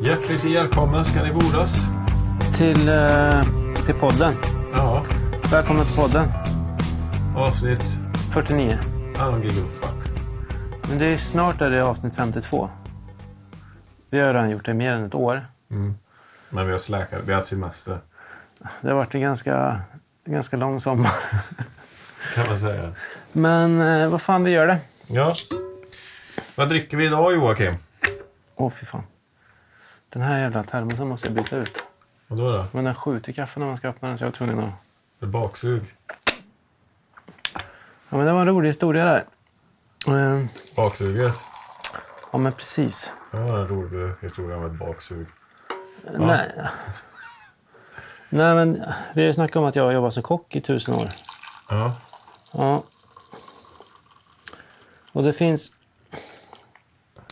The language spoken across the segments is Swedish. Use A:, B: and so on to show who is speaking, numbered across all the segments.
A: Hjärtligt välkomna ska ni bordas.
B: Till, eh, till podden.
A: Ja,
B: Välkommen till podden.
A: avsnitt
B: 49.
A: I don't give a fuck.
B: Men det är snart är det avsnitt 52. Vi har redan gjort det i mer än ett år.
A: Men vi har släkat, vi har haft semester
B: Det har varit en ganska, ganska lång sommar.
A: kan man säga.
B: Men eh, vad fan, vi gör det.
A: Ja. Vad dricker vi idag Joakim?
B: Åh, fy fan. Den här jävla termosen måste jag byta ut.
A: Vadå då?
B: Men den skjuter kaffe när man ska öppna den så jag var tvungen att...
A: Det är baksug.
B: Ja, men det var en rolig historia där. Eh,
A: Baksuget.
B: ja, men precis.
A: Det var en rolig historia om ett baksug.
B: Nej. Nej, men vi har ju snackat om att jag har jobbat som kock i tusen år.
A: Ja.
B: Ja. Och det finns...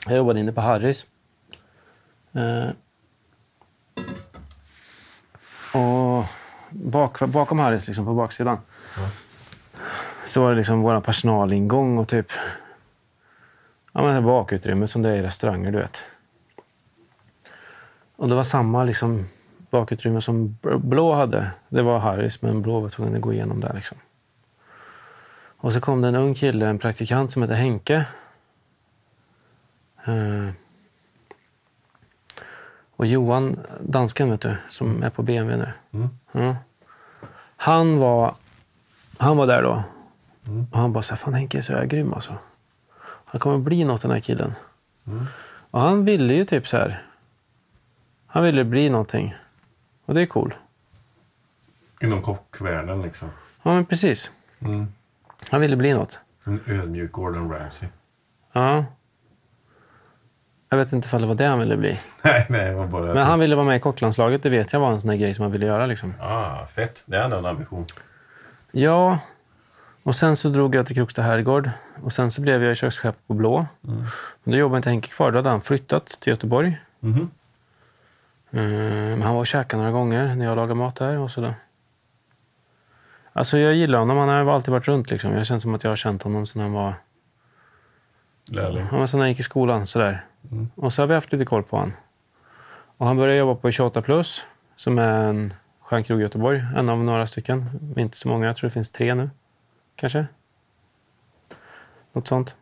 B: Jag jobbade inne på Harris. Eh. Och bak, bakom Harris, liksom på baksidan, så var det liksom vår personalingång och typ... Ja, men bakutrymmet som det är i restauranger, du vet. Och det var samma liksom, bakutrymme som Blå hade. Det var Harris, men Blå var tvungen att gå igenom där. Liksom. Och så kom det en ung kille, en praktikant som hette Henke. Eh, Och Johan, dansken vet du, som är på BMW nu. Ja. Han, var, han var där då. Och han bara så här, fan Henke är så jävla grym alltså. Han kommer bli något den här killen. Och han ville ju typ så här. Han ville bli någonting. Och det är cool.
A: Inom kockvärlden liksom.
B: Ja men precis.
A: Mm.
B: Han ville bli något.
A: En ödmjuk Gordon Ramsay.
B: Ja. Jag vet inte ifall det var det han ville bli.
A: nej, nej, det var bara...
B: Men han ville vara med i kocklandslaget. Det vet jag var en sån där grej som han ville göra. Liksom.
A: Ah, fett. Det är ändå en ambition.
B: Ja. Och sen så drog jag till Kroksta herrgård. Och sen så blev jag kökschef på Blå. Men då jobbade inte Henke kvar. Då hade han flyttat till Göteborg.
A: Mhm.
B: Eh, Men han var och käkade några gånger när jag lagade mat där. Och sådär. Alltså jag gillar honom. Han har alltid varit runt. Liksom. Jag känns som att jag har känt honom sedan han var...
A: Lärling.
B: Ja, men sen när han gick i skolan. Sådär. Och så har vi haft lite koll på honom. Och han började jobba på 28 plus, som är en stjärnkrog i Göteborg. En av några stycken. Inte så många. Jag tror det finns tre nu. Kanske. Något sånt.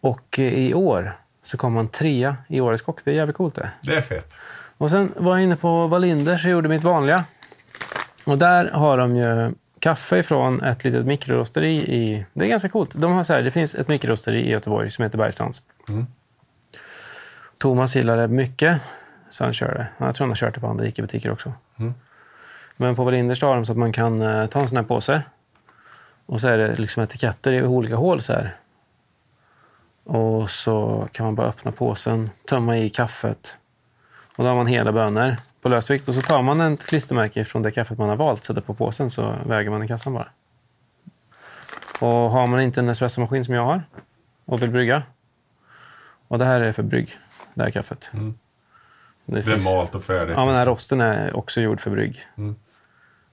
B: Och eh, i år så kom han trea i Årets kock. Det är jävligt coolt det.
A: Det är fett.
B: Och sen var jag inne på Wallinders och gjorde mitt vanliga. Och där har de ju kaffe från ett litet mikrorosteri i... Det är ganska coolt. De har så här, det finns ett mikrorosteri i Göteborg som heter Bergsands. Thomas gillar det mycket, så han kör det. Jag tror han har kört det på andra ICA-butiker också. Men på Wallinders har de så att man kan eh, ta en sån här påse. Och så är det liksom etiketter i olika hål så här. Och så kan man bara öppna påsen, tömma i kaffet. Och då har man hela bönor på lösvikt. Och så tar man ett klistermärke från det kaffet man har valt, sätter på påsen, så väger man i kassan bara. Och har man inte en espressomaskin som jag har och vill brygga. Och det här är för brygg, det här kaffet. Det
A: Det
B: finns-
A: är malt och färdigt.
B: Ja, men den här rosten är också gjord för brygg.
A: Mm.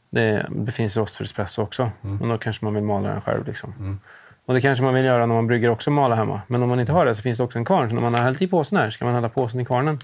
B: Det, det finns rost för espresso också, men då kanske man vill mala den själv. Liksom.
A: Mm.
B: Och Det kanske man vill göra när man brygger också, mala hemma. Men om man inte har det så finns det också en kvarn. Så när man har hällt i påsen här ska man hälla påsen i kvarnen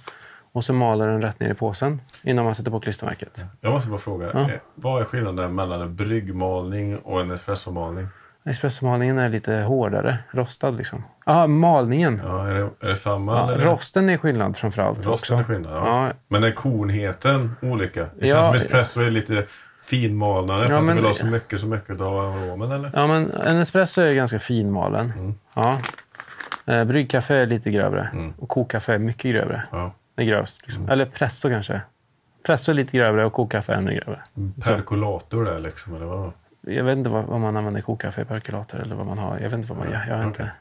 B: och så maler den rätt ner i påsen innan man sätter på klistermärket.
A: Jag måste bara fråga. eh, Vad är skillnaden mellan en bryggmalning och en espressomalning?
B: Espressomalningen är lite hårdare, rostad liksom. Ja, malningen.
A: Ja, är, det, är det samma?
B: Ja,
A: eller?
B: rosten är skillnad framför allt. också.
A: Rosten är skillnad. Ja.
B: Ja.
A: Men är kornheten olika? Det
B: Ja,
A: känns som espresso är lite finmalnare för
B: Ja,
A: att du
B: men-
A: vill ha så mycket, så mycket av aromen eller?
B: Ja, men en espresso är ganska finmalen.
A: Mm.
B: Ja. Eh, Bryggkaffe är lite grövre och kokkaffe är mycket grövre.
A: Ja.
B: Det är grövst. Liksom.
A: Mm.
B: Eller presso kanske. Presso är lite grövre och kokkaffe är ännu grövre.
A: Perkulator där liksom, eller vad?
B: Jag vet inte vad, vad man använder kokkaffe i perkulator eller vad man har. Jag vet inte vad man gör. Jag vet inte.
A: okej.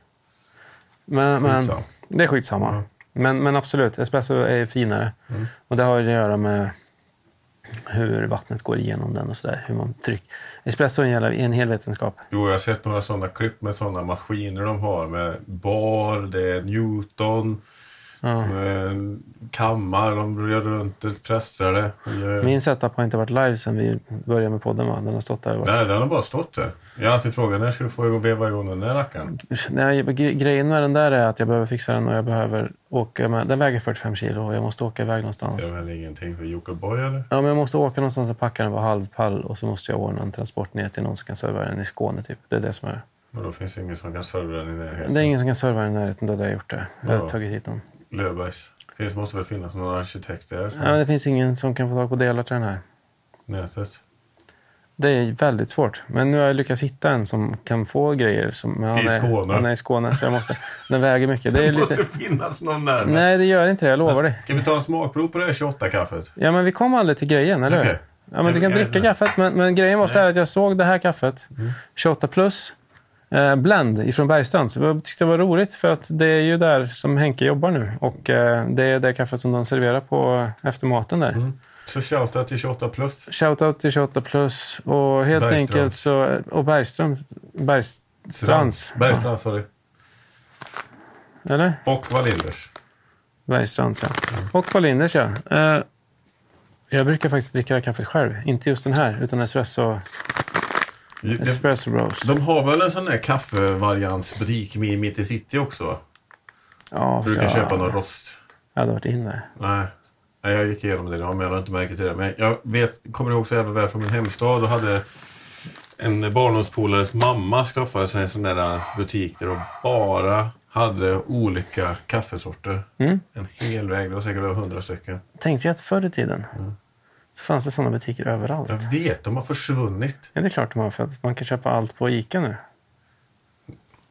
B: Men, men,
A: Skitsamma. Mm.
B: det är skitsamma. Men, men absolut, espresso är finare. Och det har ju att göra med hur vattnet går igenom den och sådär. Hur man tryck. Espresso är en, jävla, är en hel vetenskap.
A: Jo, jag har sett några sådana klipp med sådana maskiner de har med bar, det är Newton,
B: Ja.
A: De kammar, de gör runt det, prästrar det. och gör-
B: Min setup har inte varit live sedan vi började med podden va? Den har stått där. och varit-
A: Nej, den har bara stått där. Jag har alltid frågat när ska du få igång- veva igång den där rackaren?
B: Nej, gre- grejen med den där är att jag behöver fixa den och jag behöver åka med... Den väger 45 kilo och jag måste åka iväg någonstans.
A: Det är väl ingenting för Jockiboi eller?
B: Ja, men jag måste åka någonstans och packa den på halvpall och så måste jag ordna en transport ner till någon som kan serva den i Skåne. Typ. Det är det som är.
A: Men då finns det ingen som kan serva den i närheten.
B: Det är ingen som kan serva den i närheten, då hade jag gjort det. Jag hade
A: Ja.
B: tagit hit någon.
A: Löfbergs. Finns, måste väl finnas någon arkitekt där?
B: Ja, men det finns ingen som kan få tag på delar till den här.
A: Nätet.
B: Det är väldigt svårt. Men nu har jag lyckats hitta en som kan få grejer. Som, men han
A: I Skåne.
B: Är, han är i Skåne, så jag måste... Den väger mycket. Det
A: Det
B: är lite,
A: måste finnas någon där.
B: nej, det gör inte det. Jag lovar dig.
A: Ska vi ta en smakprov på det här 28-kaffet?
B: Ja, men vi kom aldrig till grejen, eller hur?
A: Okej.
B: Ja, men du kan
A: Jag- jag-
B: dricka kaffet, men, men grejen var så här att jag såg det här kaffet, 28 plus, eh, Blend ifrån Bergstrand. Så jag tyckte det var roligt, för att det är ju där som Henke jobbar nu. Och eh, det är det kaffet som de serverar på eh, efter maten där.
A: Mm. Så shoutout till 28 plus.
B: Shoutout till 28 plus och helt
A: Bergstrands.
B: enkelt så... Och Bergström, Bergstrands.
A: Bergstrands, sorry.
B: Ja, eller?
A: Och Wallinders.
B: Bergstrands, ja.
A: Mm.
B: Och Wallinders, ja. Eh, jag brukar faktiskt dricka det här kaffet själv. Inte just den här, utan espresso,
A: Det-
B: espresso bros.
A: De har väl en sån där kaffevariantsbutik med- mitt i city också? va?
B: Ja,
A: Du kan
B: ja.
A: köpa någon rost.
B: Jag hade varit in där.
A: Nej. Nej, jag gick igenom det idag, men jag har inte märkt det. Men jag vet, kommer ihåg så jävla väl från min hemstad. Då hade en barndomspolares mamma skaffade sig en sån där äh, butik där de bara hade olika kaffesorter.
B: Mm.
A: En hel väg. Det var säkert över hundra stycken.
B: Tänkte jag att förr i tiden
A: Mm.
B: så fanns det sådana butiker överallt. Ja.
A: Jag vet, de har försvunnit.
B: det är klart de har, för att man kan köpa allt på Ica nu.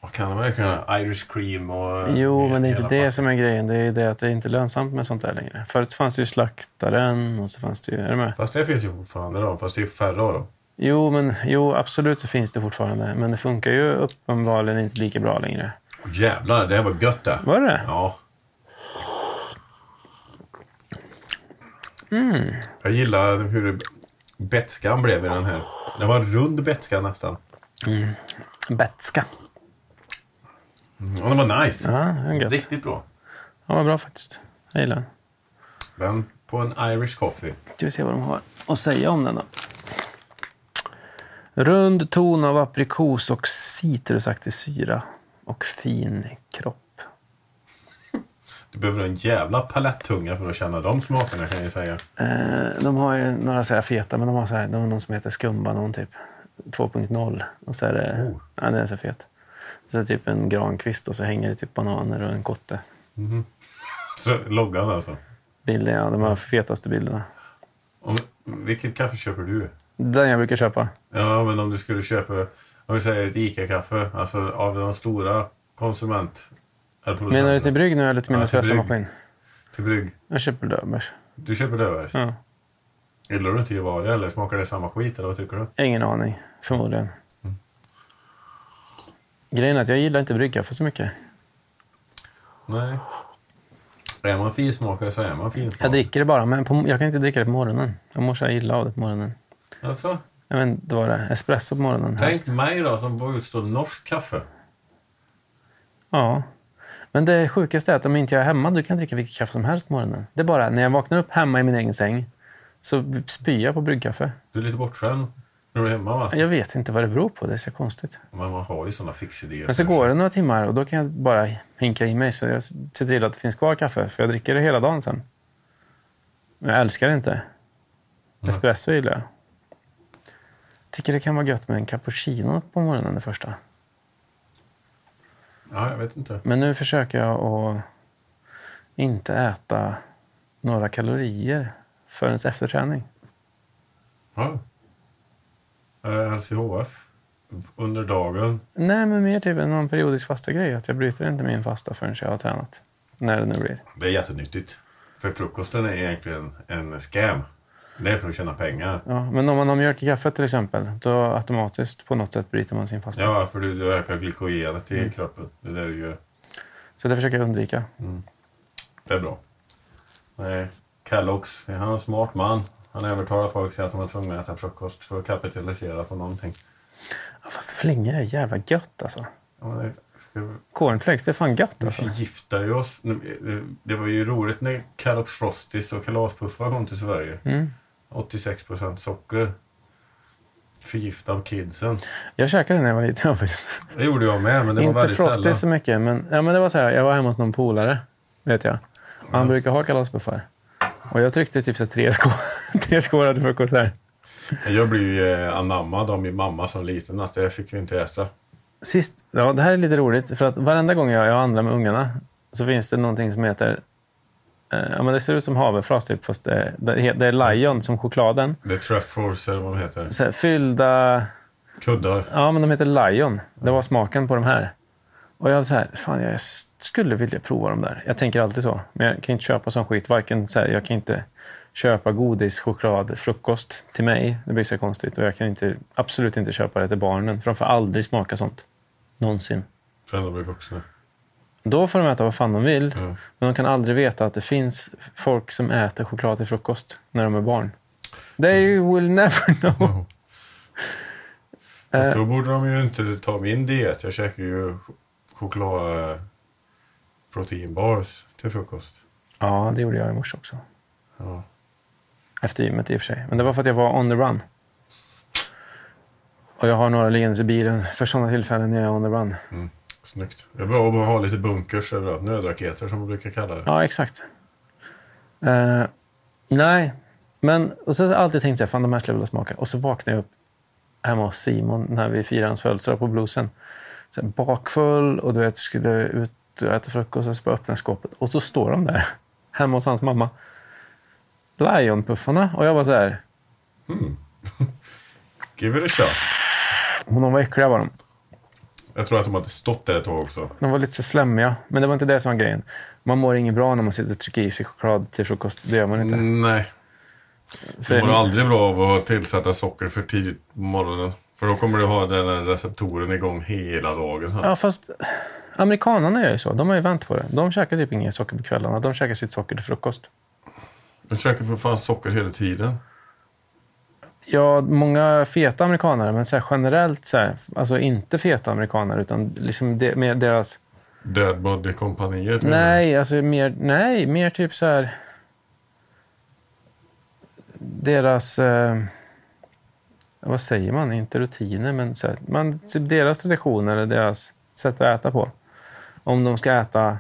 A: Vad kan de verkligen göra? Irish cream och...
B: Jo, men det är inte
A: hela
B: det
A: packen.
B: som är grejen. Det är det att det är inte lönsamt med sånt där längre. Förut fanns det ju slaktaren och så fanns det ju... Är du med?
A: Fast det finns ju fortfarande då. Fast det är ju färre av dem.
B: Jo, men, jo, absolut så finns det fortfarande. Men det funkar ju uppenbarligen inte lika bra längre.
A: Åh, jävlar, det här var gött det.
B: Var det det?
A: Ja. Mm. Jag gillar hur betskan blev i den här. Den var en rund betska nästan.
B: Betska.
A: Och den var nice.
B: Ja, det är gött.
A: Riktigt bra.
B: Ja, vad bra faktiskt. Jag gillar den.
A: Den på en Irish coffee.
B: Ska vi se vad de har att säga om den då. Rund ton av aprikos och citrusaktig syra och fin kropp.
A: Du behöver en jävla palettunga för att känna de smakerna kan jag ju säga.
B: Eh, de har ju några så här feta, men de har, så här, de har någon som heter skumba någon typ. 2.0. Och så är det,
A: Oh.
B: ja, den är så fet. Så är det typ en grankvist och så hänger det typ bananer och en kotte.
A: Så, loggan alltså.
B: Bilder, ja, de här fetaste bilderna.
A: Om, vilket kaffe köper du?
B: Den jag brukar köpa.
A: Ja, men om du skulle köpa, om vi säger ett ICA-kaffe, alltså av de stora konsument... Eller
B: Menar du
A: producenterna.
B: typ- till brygg nu eller till min
A: Ja, till brygg.
B: espressomaskin?
A: Till brygg.
B: Jag köper Löfbergs.
A: Du köper Löfbergs?
B: Ja.
A: Gillar du inte Gevalia eller smakar det samma skit eller vad tycker du?
B: Ingen aning, förmodligen. Grejen är att jag gillar inte bryggkaffe så mycket.
A: Nej. Är man finsmakare så är man
B: Jag
A: finsmakare.
B: dricker det bara, men på, jag kan inte dricka det på morgonen. Jag mår så här illa av det på morgonen.
A: Alltså,
B: Jag vet inte vad det är. Espresso på morgonen helst.
A: tänk mig då som får utstå norskt kaffe.
B: Ja. Men det sjukaste är att om inte jag är hemma, du kan dricka vilket kaffe som helst på morgonen. Det är bara när jag vaknar upp hemma i min egen säng så spyr jag på bryggkaffe.
A: Du är lite bortskämd när du är hemma va?
B: Jag vet inte vad det beror på, det är så konstigt.
A: Men man har ju sådana fixidéer.
B: Men så går det några timmar och då kan jag bara hinka i mig. Så jag ser till att det finns kvar kaffe, för jag dricker det hela dagen sen. Men jag älskar det inte. Espresso gillar jag. Tycker det kan vara gött med en cappuccino på morgonen det första.
A: Ja, jag vet inte.
B: Men nu försöker jag att inte äta några kalorier förrän efter träning.
A: Ja. Eh, LCHF. Under dagen.
B: Nej, men mer typ en någon periodisk fasta grej. Att jag bryter inte min fasta förrän jag har tränat. När det nu blir.
A: Det är jättenyttigt. För frukosten är egentligen en scam. Det är för att tjäna pengar.
B: Ja, men om man har mjölk i kaffet till exempel, då automatiskt på något sätt bryter man sin fasta.
A: Ja, för du, du ökar glykogenet i kroppen. Det är det du gör.
B: Så det försöker jag undvika.
A: Det är bra. Nej, Kellogg's, han är en smart man. Han övertalar folk till att de är tvungna att äta frukost för att kapitalisera på någonting.
B: Ja, fast flingor är jävla gött alltså.
A: Ja, men det- Ska-
B: Cornflakes, det är fan gött
A: Vi
B: alltså.
A: förgiftar ju oss. eh, Det var ju roligt när Kellogg Frosties och Kalaspuffar kom till Sverige.
B: Mm.
A: 86 socker. Förgiftad av kidsen.
B: Jag käkade det när jag var liten faktiskt.
A: Det gjorde jag med, men det var
B: Inte
A: väldigt
B: Frosty
A: sällan.
B: så mycket, men, ja, men det var så här, jag var hemma hos någon polare, vet jag. Och han brukar ha kalasbuffar. Och jag tryckte typ så här tre skålar tre skålar till frukost här.
A: Jag blev ju eh, anammad av min mamma som liten. Att det fick vi inte äta.
B: Sist, ja, det här är lite roligt, för att varenda gång jag, jag handlar med ungarna så finns det någonting som heter eh, Ja, men det ser ut som havrefras, typ, fast det, det, he- det är lion som chokladen.
A: Det är Treffors eller vad de heter.
B: Så här, fyllda...
A: Kuddar.
B: Ja, men de heter Lion. Det var smaken på de här. Och jag så här, fan jag s- skulle vilja prova de där. Jag tänker alltid så. Men jag kan inte köpa sån skit. Varken så här, jag kan inte köpa godis, choklad, frukost till mig. Det blir så konstigt. Och jag kan inte, absolut inte köpa det till barnen. För de får aldrig smaka sånt. Någonsin.
A: Föräldrar blir vuxna.
B: Då får de äta vad fan de vill.
A: Ja.
B: Men de kan aldrig veta att det finns folk som äter choklad till frukost när de är barn. They will never know. Eh.
A: Fast då borde de ju inte ta min diet. Jag käkar ju ch- choklad... eh, proteinbars till frukost.
B: Ja, det gjorde jag i morse också.
A: Ja.
B: Efter gymmet i och för sig. Men det var för att jag var on the run. Och jag har några liggandes i bilen för sådana tillfällen när jag är on the run.
A: Snyggt. Det är bra att bara ha lite bunkers överallt. Nödraketer som man brukar kalla det.
B: Ja, exakt. Eh, nej, men och så har jag alltid tänkt så här, fan de här skulle jag vilja smaka. Och så vaknade jag upp hemma hos Simon när vi firade hans födelsedag på Bluesen. Så här, bakfull och du vet, skulle ut och äta frukost och så bara öppna skåpet. Och så står de där, hemma hos hans mamma. Lionpuffarna. Och jag var så här,
A: Give it a shot.
B: och de var äckliga var de.
A: Jag tror att de hade stått där ett tag också.
B: De var lite så slemmiga, men det var inte det som var grejen. Man mår inget bra när man sitter och trycker i sig choklad till frukost. Det gör man inte.
A: Mm, nej.
B: För
A: Du mår aldrig bra av att ha tillsatta socker för tidigt på morgonen. För då kommer du ha den här receptoren igång hela dagen. sen.
B: Ja, fast amerikanarna gör ju så. De har ju vänt på det. De käkar typ inget socker på kvällarna. De käkar sitt socker till frukost.
A: Du käkar för fan socker hela tiden.
B: Ja, många feta amerikanare, men så här generellt så här, alltså inte feta amerikanare, utan liksom de, mer deras...
A: Dead Body-kompaniet. menar jag.
B: Nej, alltså mer, nej, mer typ så här... Deras... Eh, vad säger man? Inte rutiner, men så här, man, typ deras traditioner eller deras sätt att äta på. Om de ska äta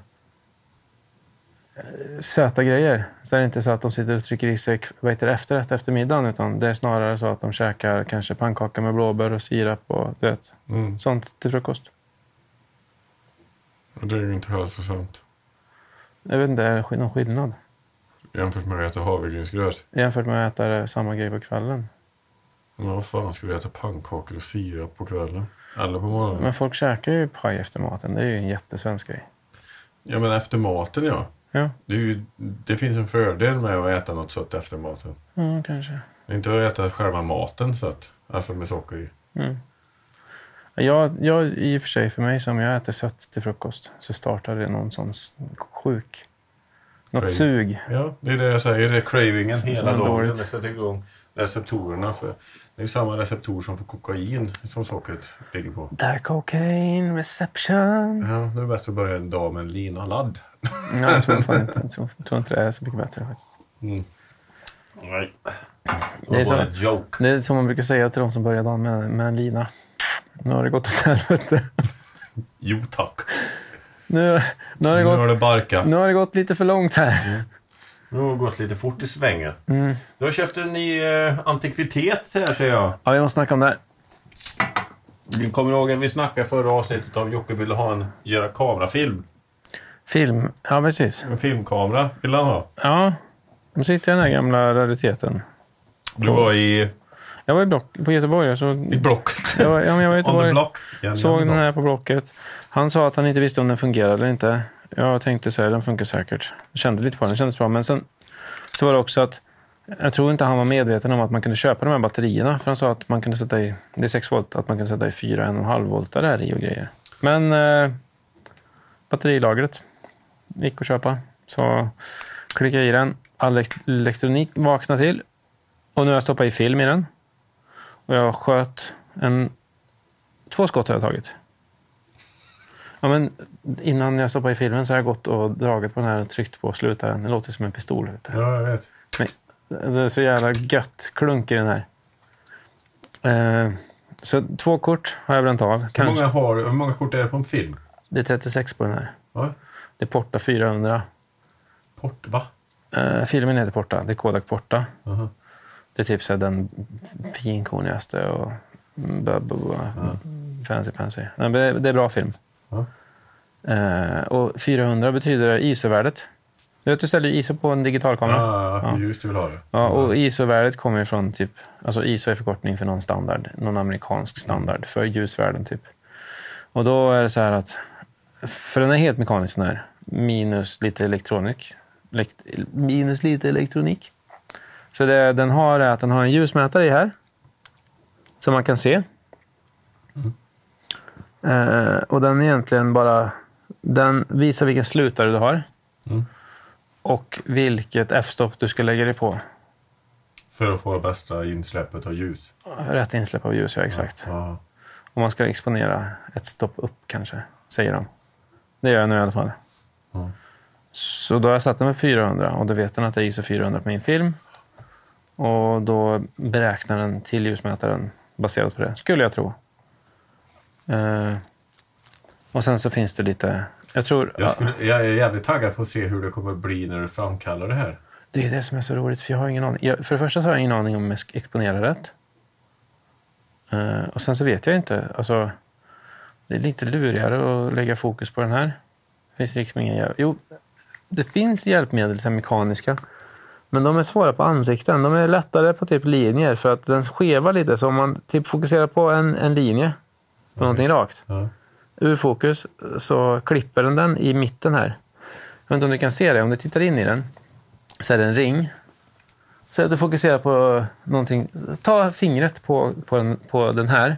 B: eh, söta grejer. Så är det inte så att de sitter och trycker i sig vad heter det, efterrätt efter middagen, utan det är snarare så att de käkar kanske pannkaka med blåbär och sirap och du vet,
A: Mm.
B: sånt till frukost.
A: Och Det är ju inte hälsosamt.
B: Jag vet inte, är det skill- någon skillnad?
A: Jämfört med att äta havregrynsgröt.
B: Jämfört med att äta det- samma grej på kvällen.
A: Men vad fan ska du äta pannkakor och sirap på kvällen? Eller på morgonen?
B: Men folk käkar ju paj efter maten. Det är ju en jättesvensk grej.
A: Ja, men efter maten ja.
B: Ja,
A: Det, är ju, det finns en fördel med att äta något sött efter maten.
B: ja kanske.
A: Inte att äta själva maten så att, alltså med socker i.
B: Mm. Jag, jag, I och för sig, för mig som jag äter sött till frukost så startar det någon sån s- sjuk... Något
A: Craving.
B: sug.
A: Ja, det är det jag säger. Det är cravingen
B: Som- som
A: hela
B: är
A: dagen.
B: dåligt.
A: Det sätter igång receptorerna. För det är ju samma receptor som för kokain som sockret ligger på.
B: Där cocaine reception.
A: Ja, nu är det bättre att börja en dag med en lina ladd.
B: Ja, jag tror fan inte, jag tror, jag tror inte det är så mycket bättre faktiskt.
A: Nej.
B: Det är så-
A: en joke.
B: Det är som man brukar säga till de som börjar dagen med, med en lina. Nu har det gått åt helvete.
A: Jo tack.
B: Nu, nu, har det
A: Nu har
B: gått,
A: det barkat.
B: nu har det gått lite för långt här.
A: Nu har det gått lite fort i svängen.
B: Mm.
A: Du har köpt en ny eh, antikvitet här ser jag.
B: Ja, vi måste snacka om det här.
A: Du Kommer du ihåg att vi snackade förra avsnittet om Jocke ville ha en, göra kamerafilm?
B: Film. Ja, precis.
A: En filmkamera ville han ha.
B: Ja, nu sitter jag i den här gamla rariteten.
A: Du var i,
B: Jag var i block, på Göteborg. och Så,
A: i Blocket.
B: jag var, ja, men jag var i
A: On the
B: Göteborg.
A: block. Gärna
B: Såg
A: on
B: den
A: the
B: här på Blocket. Han sa att han inte visste om den fungerade eller inte. Jag tänkte så här, den funkar säkert. Jag kände lite på den, den kändes bra. Men sen så var det också att jag tror inte han var medveten om att man kunde köpa de här batterierna. För han sa att man kunde sätta i, det är 6 volt, att man kunde sätta i 4,5 volt där i och grejer. Men eh, batterilagret gick att köpa. Så klickade jag i den. All elekt- elektronik vaknade till. Och nu har jag stoppat i film i den. Och jag sköt en... Två skott har jag tagit. Ja, men innan jag stoppade i filmen så har jag gått och dragit på den här och tryckt på slutaren. Det låter som en pistol. Vet du.
A: Ja, jag vet.
B: Det är så jävla gött klunk i den här. Eh, så två kort har jag bränt av.
A: Hur
B: Kanske.
A: många, har, hur många kort är det på en film?
B: Det är 36 på den här.
A: Va?
B: Det är Porta 400.
A: Port, va?
B: Eh, filmen heter Porta. Det är Kodak Porta.
A: Aha.
B: Det är typ så här den finkornigaste och bla, bla, bla. fancy fancy. Nej, men det, det är bra film.
A: Ja.
B: Eh, och 400 betyder ISO-värdet. Du vet, du ställer ju ISO på en digital kamera. Ja.
A: Ja, ja, just det Ah, vill ha det.
B: och ISO-värdet kommer ju från typ... Alltså ISO är förkortning för någon standard. Någon amerikansk standard för ljusvärden typ. Och då är det så här att... För den är helt mekanisk den här. Minus lite elektronik. Lekt, minus lite elektronik. Så det den har är att den har en ljusmätare i här. Som man kan se. Eh, och den är egentligen bara... Den visar vilken slutare du har. Och vilket f-stopp du ska lägga dig på.
A: För att få bästa insläppet av ljus.
B: Rätt insläpp av ljus, ja exakt.
A: Ja.
B: Och man ska exponera ett stopp upp kanske, säger de. Det gör jag nu i alla fall.
A: Ja.
B: Så då har jag satt den med 400 och då vet den att det är ISO 400 på min film. Och då beräknar den till ljusmätaren baserat på det, skulle jag tro. Eh, och sen så finns det lite... Jag tror...
A: Jag, skulle, jag är jävligt taggad på att se hur det kommer bli när du framkallar det här.
B: Det är det som är så roligt, för jag har ingen aning. Jag, för det första så har jag ingen aning om jag ska exponera rätt. Eh, och sen så vet jag inte. Alltså, det är lite lurigare att lägga fokus på den här. Det finns liksom ingen hjälp. Jo, det finns hjälpmedel, så här mekaniska. Men de är svåra på ansikten. De är lättare på typ linjer för att den skevar lite. Så om man typ fokuserar på en, en linje, på någonting rakt,
A: Ja.
B: ur fokus så klipper den den i mitten här. Jag vet inte om du kan se det. Om du tittar in i den så är det en ring. Så att du fokuserar på någonting. Ta fingret på, på, den, på den här.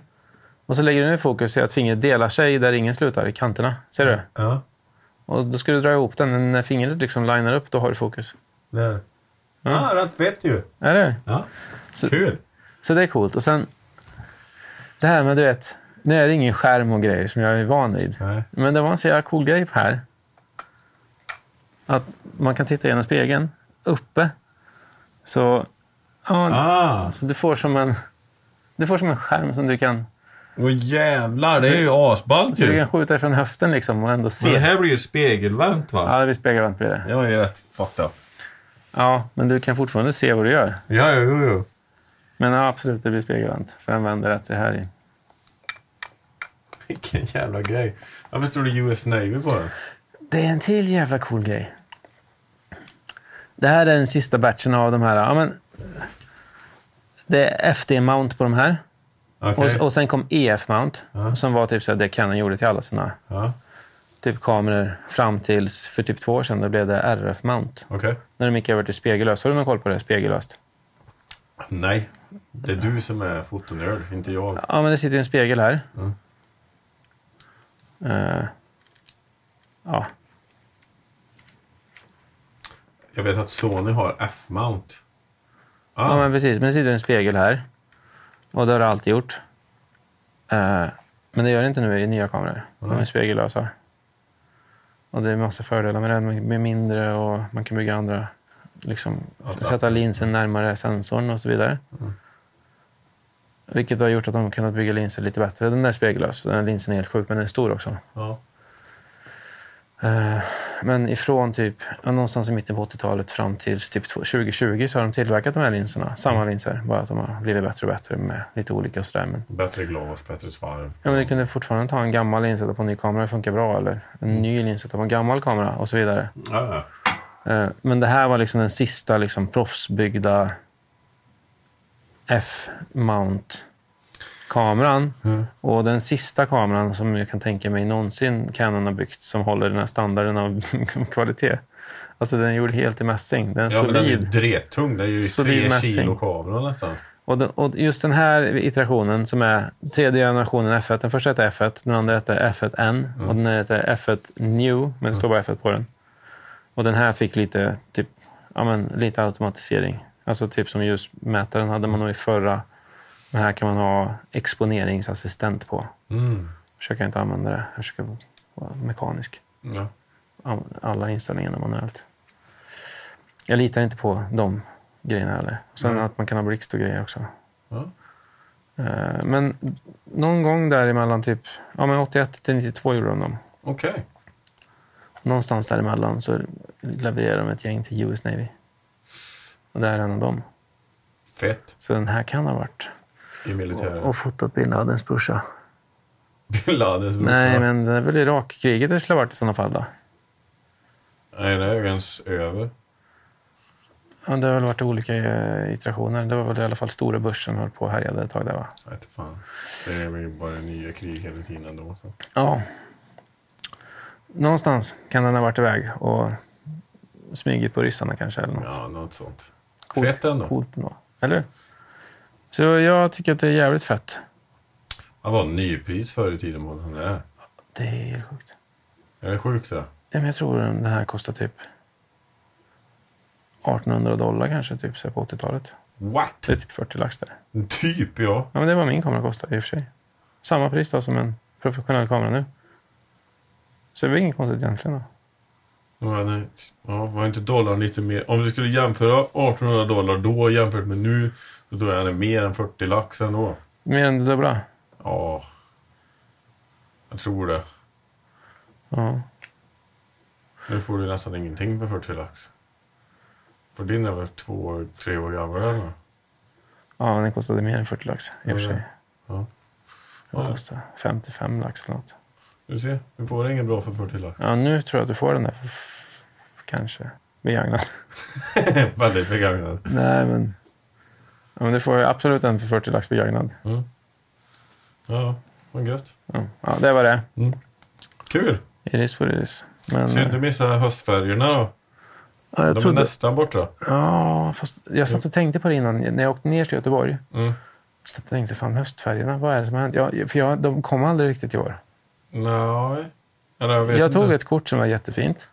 B: Och så lägger du nu fokus i att fingret delar sig där ringen slutar, i kanterna. Ser du?
A: Ja,
B: Och då ska du dra ihop den. Men När fingret liksom linar upp, då har du fokus.
A: där. Ja, Ah, rätt fett ju.
B: Är det?
A: Ja.
B: Så-
A: Kul.
B: Så det är coolt. Och sen, det här med du vet, nu är det ingen skärm och grejer som jag är van vid.
A: Nej.
B: Men det var en så jävla cool grej här. Att man kan titta genom spegeln, uppe. Så, ja,
A: Ah,
B: så du får som en... Du får som en skärm som du kan,
A: och jävlar. Det är ju asballt
B: så du
A: ju.
B: kan skjuta ifrån höften liksom och ändå
A: Men det
B: se.
A: här blir ju spegelvänt va?
B: Ja, det blir spegelvänt blir det.
A: Jag är rätt fucked up.
B: Ja, men du kan fortfarande se vad du gör.
A: Ja, jo, jo, jo.
B: Men ja, absolut, det blir spegelvänt. För den vänder rätt sig här i.
A: Vilken jävla grej. Varför står det US Navy på den?
B: Det är en till jävla cool grej. Det här är den sista batchen av de här. Ja, men, det är FD-mount på de här.
A: Okej.
B: Och, och sen kom EF-mount, som var typ så här, det Canon gjorde till alla sina
A: Ja,
B: typ, kameror fram tills för typ två år sedan. Då blev det RF-mount.
A: okej.
B: När de gick över till spegellöst. Har du någon koll på det? Spegellöst?
A: Nej. Det är du som är fotonörd, inte jag.
B: Ja, men det sitter ju en spegel här.
A: Mm.
B: Eh, ja,
A: Jag vet att Sony har F-mount.
B: Ja,
A: Ah,
B: men precis. Men det sitter en spegel här. Och det har det alltid gjort. Eh, men det gör det inte nu i nya kameror. De är spegellösa. Och det är massa fördelar med det. De är mindre och man kan bygga andra... Liksom,
A: Adapter.
B: sätta linsen närmare sensorn och så vidare. Vilket har gjort att de har kunnat bygga linser lite bättre. Den där är spegellös. Den här linsen är helt sjuk, men den är stor också.
A: ja.
B: Eh, Men ifrån typ ja, någonstans i mitten på 80-talet fram till typ 2020 så har de tillverkat de här linserna. Samma linser, bara att de har blivit bättre och bättre med lite olika och sådär. Men,
A: Bättre glas, bättre svarv.
B: ja, men du kunde fortfarande ta en gammal lins och sätta på en ny kamera, det funkar bra. Eller en ny lins och sätta på en gammal kamera och så vidare.
A: Ja, ja.
B: Eh, Men det här var liksom den sista liksom proffsbyggda F-mount-kameran. Och den sista kameran som jag kan tänka mig någonsin Canon har byggt som håller den här standarden av kvalitet. Alltså den är gjord helt i mässing. Den är
A: Ja, men
B: solid.
A: den är ju dretung. Den är ju
B: Solid
A: tre
B: mässing.
A: kilo kamera nästan.
B: Och, den, och just den här iterationen som är tredje generationen F1. Den första heter F1, den andra heter F1N
A: Mm.
B: och den här heter F1 New, men det står bara F1 på den. Och den här fick lite, typ, ja, men, lite automatisering. Alltså typ som ljusmätaren hade man nog i förra. Men här kan man ha exponeringsassistent på.
A: Mm.
B: försöker inte använda det. Jag försöker var mekanisk.
A: Ja.
B: An- Alla inställningarna manuellt. Jag litar inte på de grejerna heller. Sen
A: Nej.
B: att man kan ha blixt och grejer också.
A: Ja.
B: Eh, Men någon gång däremellan, typ ja, men 81 till 92 gjorde de dem.
A: Okej.
B: Någonstans däremellan så levererade de ett gäng till US Navy. Och det här är en av dem.
A: Fett
B: Så den här kan ha varit.
A: i militären.
B: Och fotat Bin Ladens brorsa.
A: Bin Ladens brorsa.
B: Nej, men det är väl Irakkriget det skulle ha varit i sådana fall då.
A: Nej, det är ju ens över.
B: Ja, det har väl varit olika eh, iterationer. Det var väl i alla fall stora börsen som höll på och härjade ett tag där va?
A: Jag vet inte fan. Det är väl bara nya krig hela tiden ändå. Så.
B: Ja. Någonstans kan den ha varit iväg och smugit på ryssarna kanske eller något.
A: Ja, något sånt.
B: Coolt.
A: Fett ändå.
B: Coolt ändå. Eller Så jag tycker att det är jävligt fett.
A: Han var nypris förr i tiden mot den där.
B: Det är helt sjukt.
A: Är det sjukt det?
B: Ja, men jag tror den här kostar typ 1800 dollar kanske typ så här på 80-talet.
A: What?
B: Det är typ 40 lax där.
A: Typ ja.
B: Ja, men det var min kamera kostade i och för sig. Samma pris då som en professionell kamera nu. Så det var inget konstigt egentligen. Då.
A: Men, eh, ja, var inte dollarn lite mer... Om du skulle jämföra 1800 dollar då jämfört med nu, då tror jag han är mer än 40 lax ändå.
B: Mer än det dubbla.
A: Ja. Jag tror det.
B: Ja.
A: Nu får du nästan ingenting för 40 lax. För din är väl två, tre år gammal eller? nåt?
B: ja, men den kostade mer än 40 lax i och för sig.
A: Ja.
B: Den
A: Ja.
B: kostade 55 lax eller något.
A: Du ser, du får ingen bra för 40 lax.
B: Ja, nu tror jag att du får den där för f- kanske begagnad.
A: Väldigt begagnad.
B: Nej, men... Ja, men du får ju absolut en för 40 lax begagnad.
A: Mm. Ja, vad gött.
B: Ja, ja det var det.
A: Kul!
B: Iris what it is. Men,
A: Synd du missade höstfärgerna då.
B: ja, jag
A: De
B: trodde,
A: är nästan borta.
B: ja, fast jag satt och tänkte på det innan. När jag åkte ner till Göteborg
A: Mm.
B: så jag tänkte jag fan höstfärgerna, vad är det som har hänt? Jag, för jag, de kom aldrig riktigt i år.
A: Nej. Eller jag vet
B: jag tog
A: inte.
B: ett kort som var jättefint.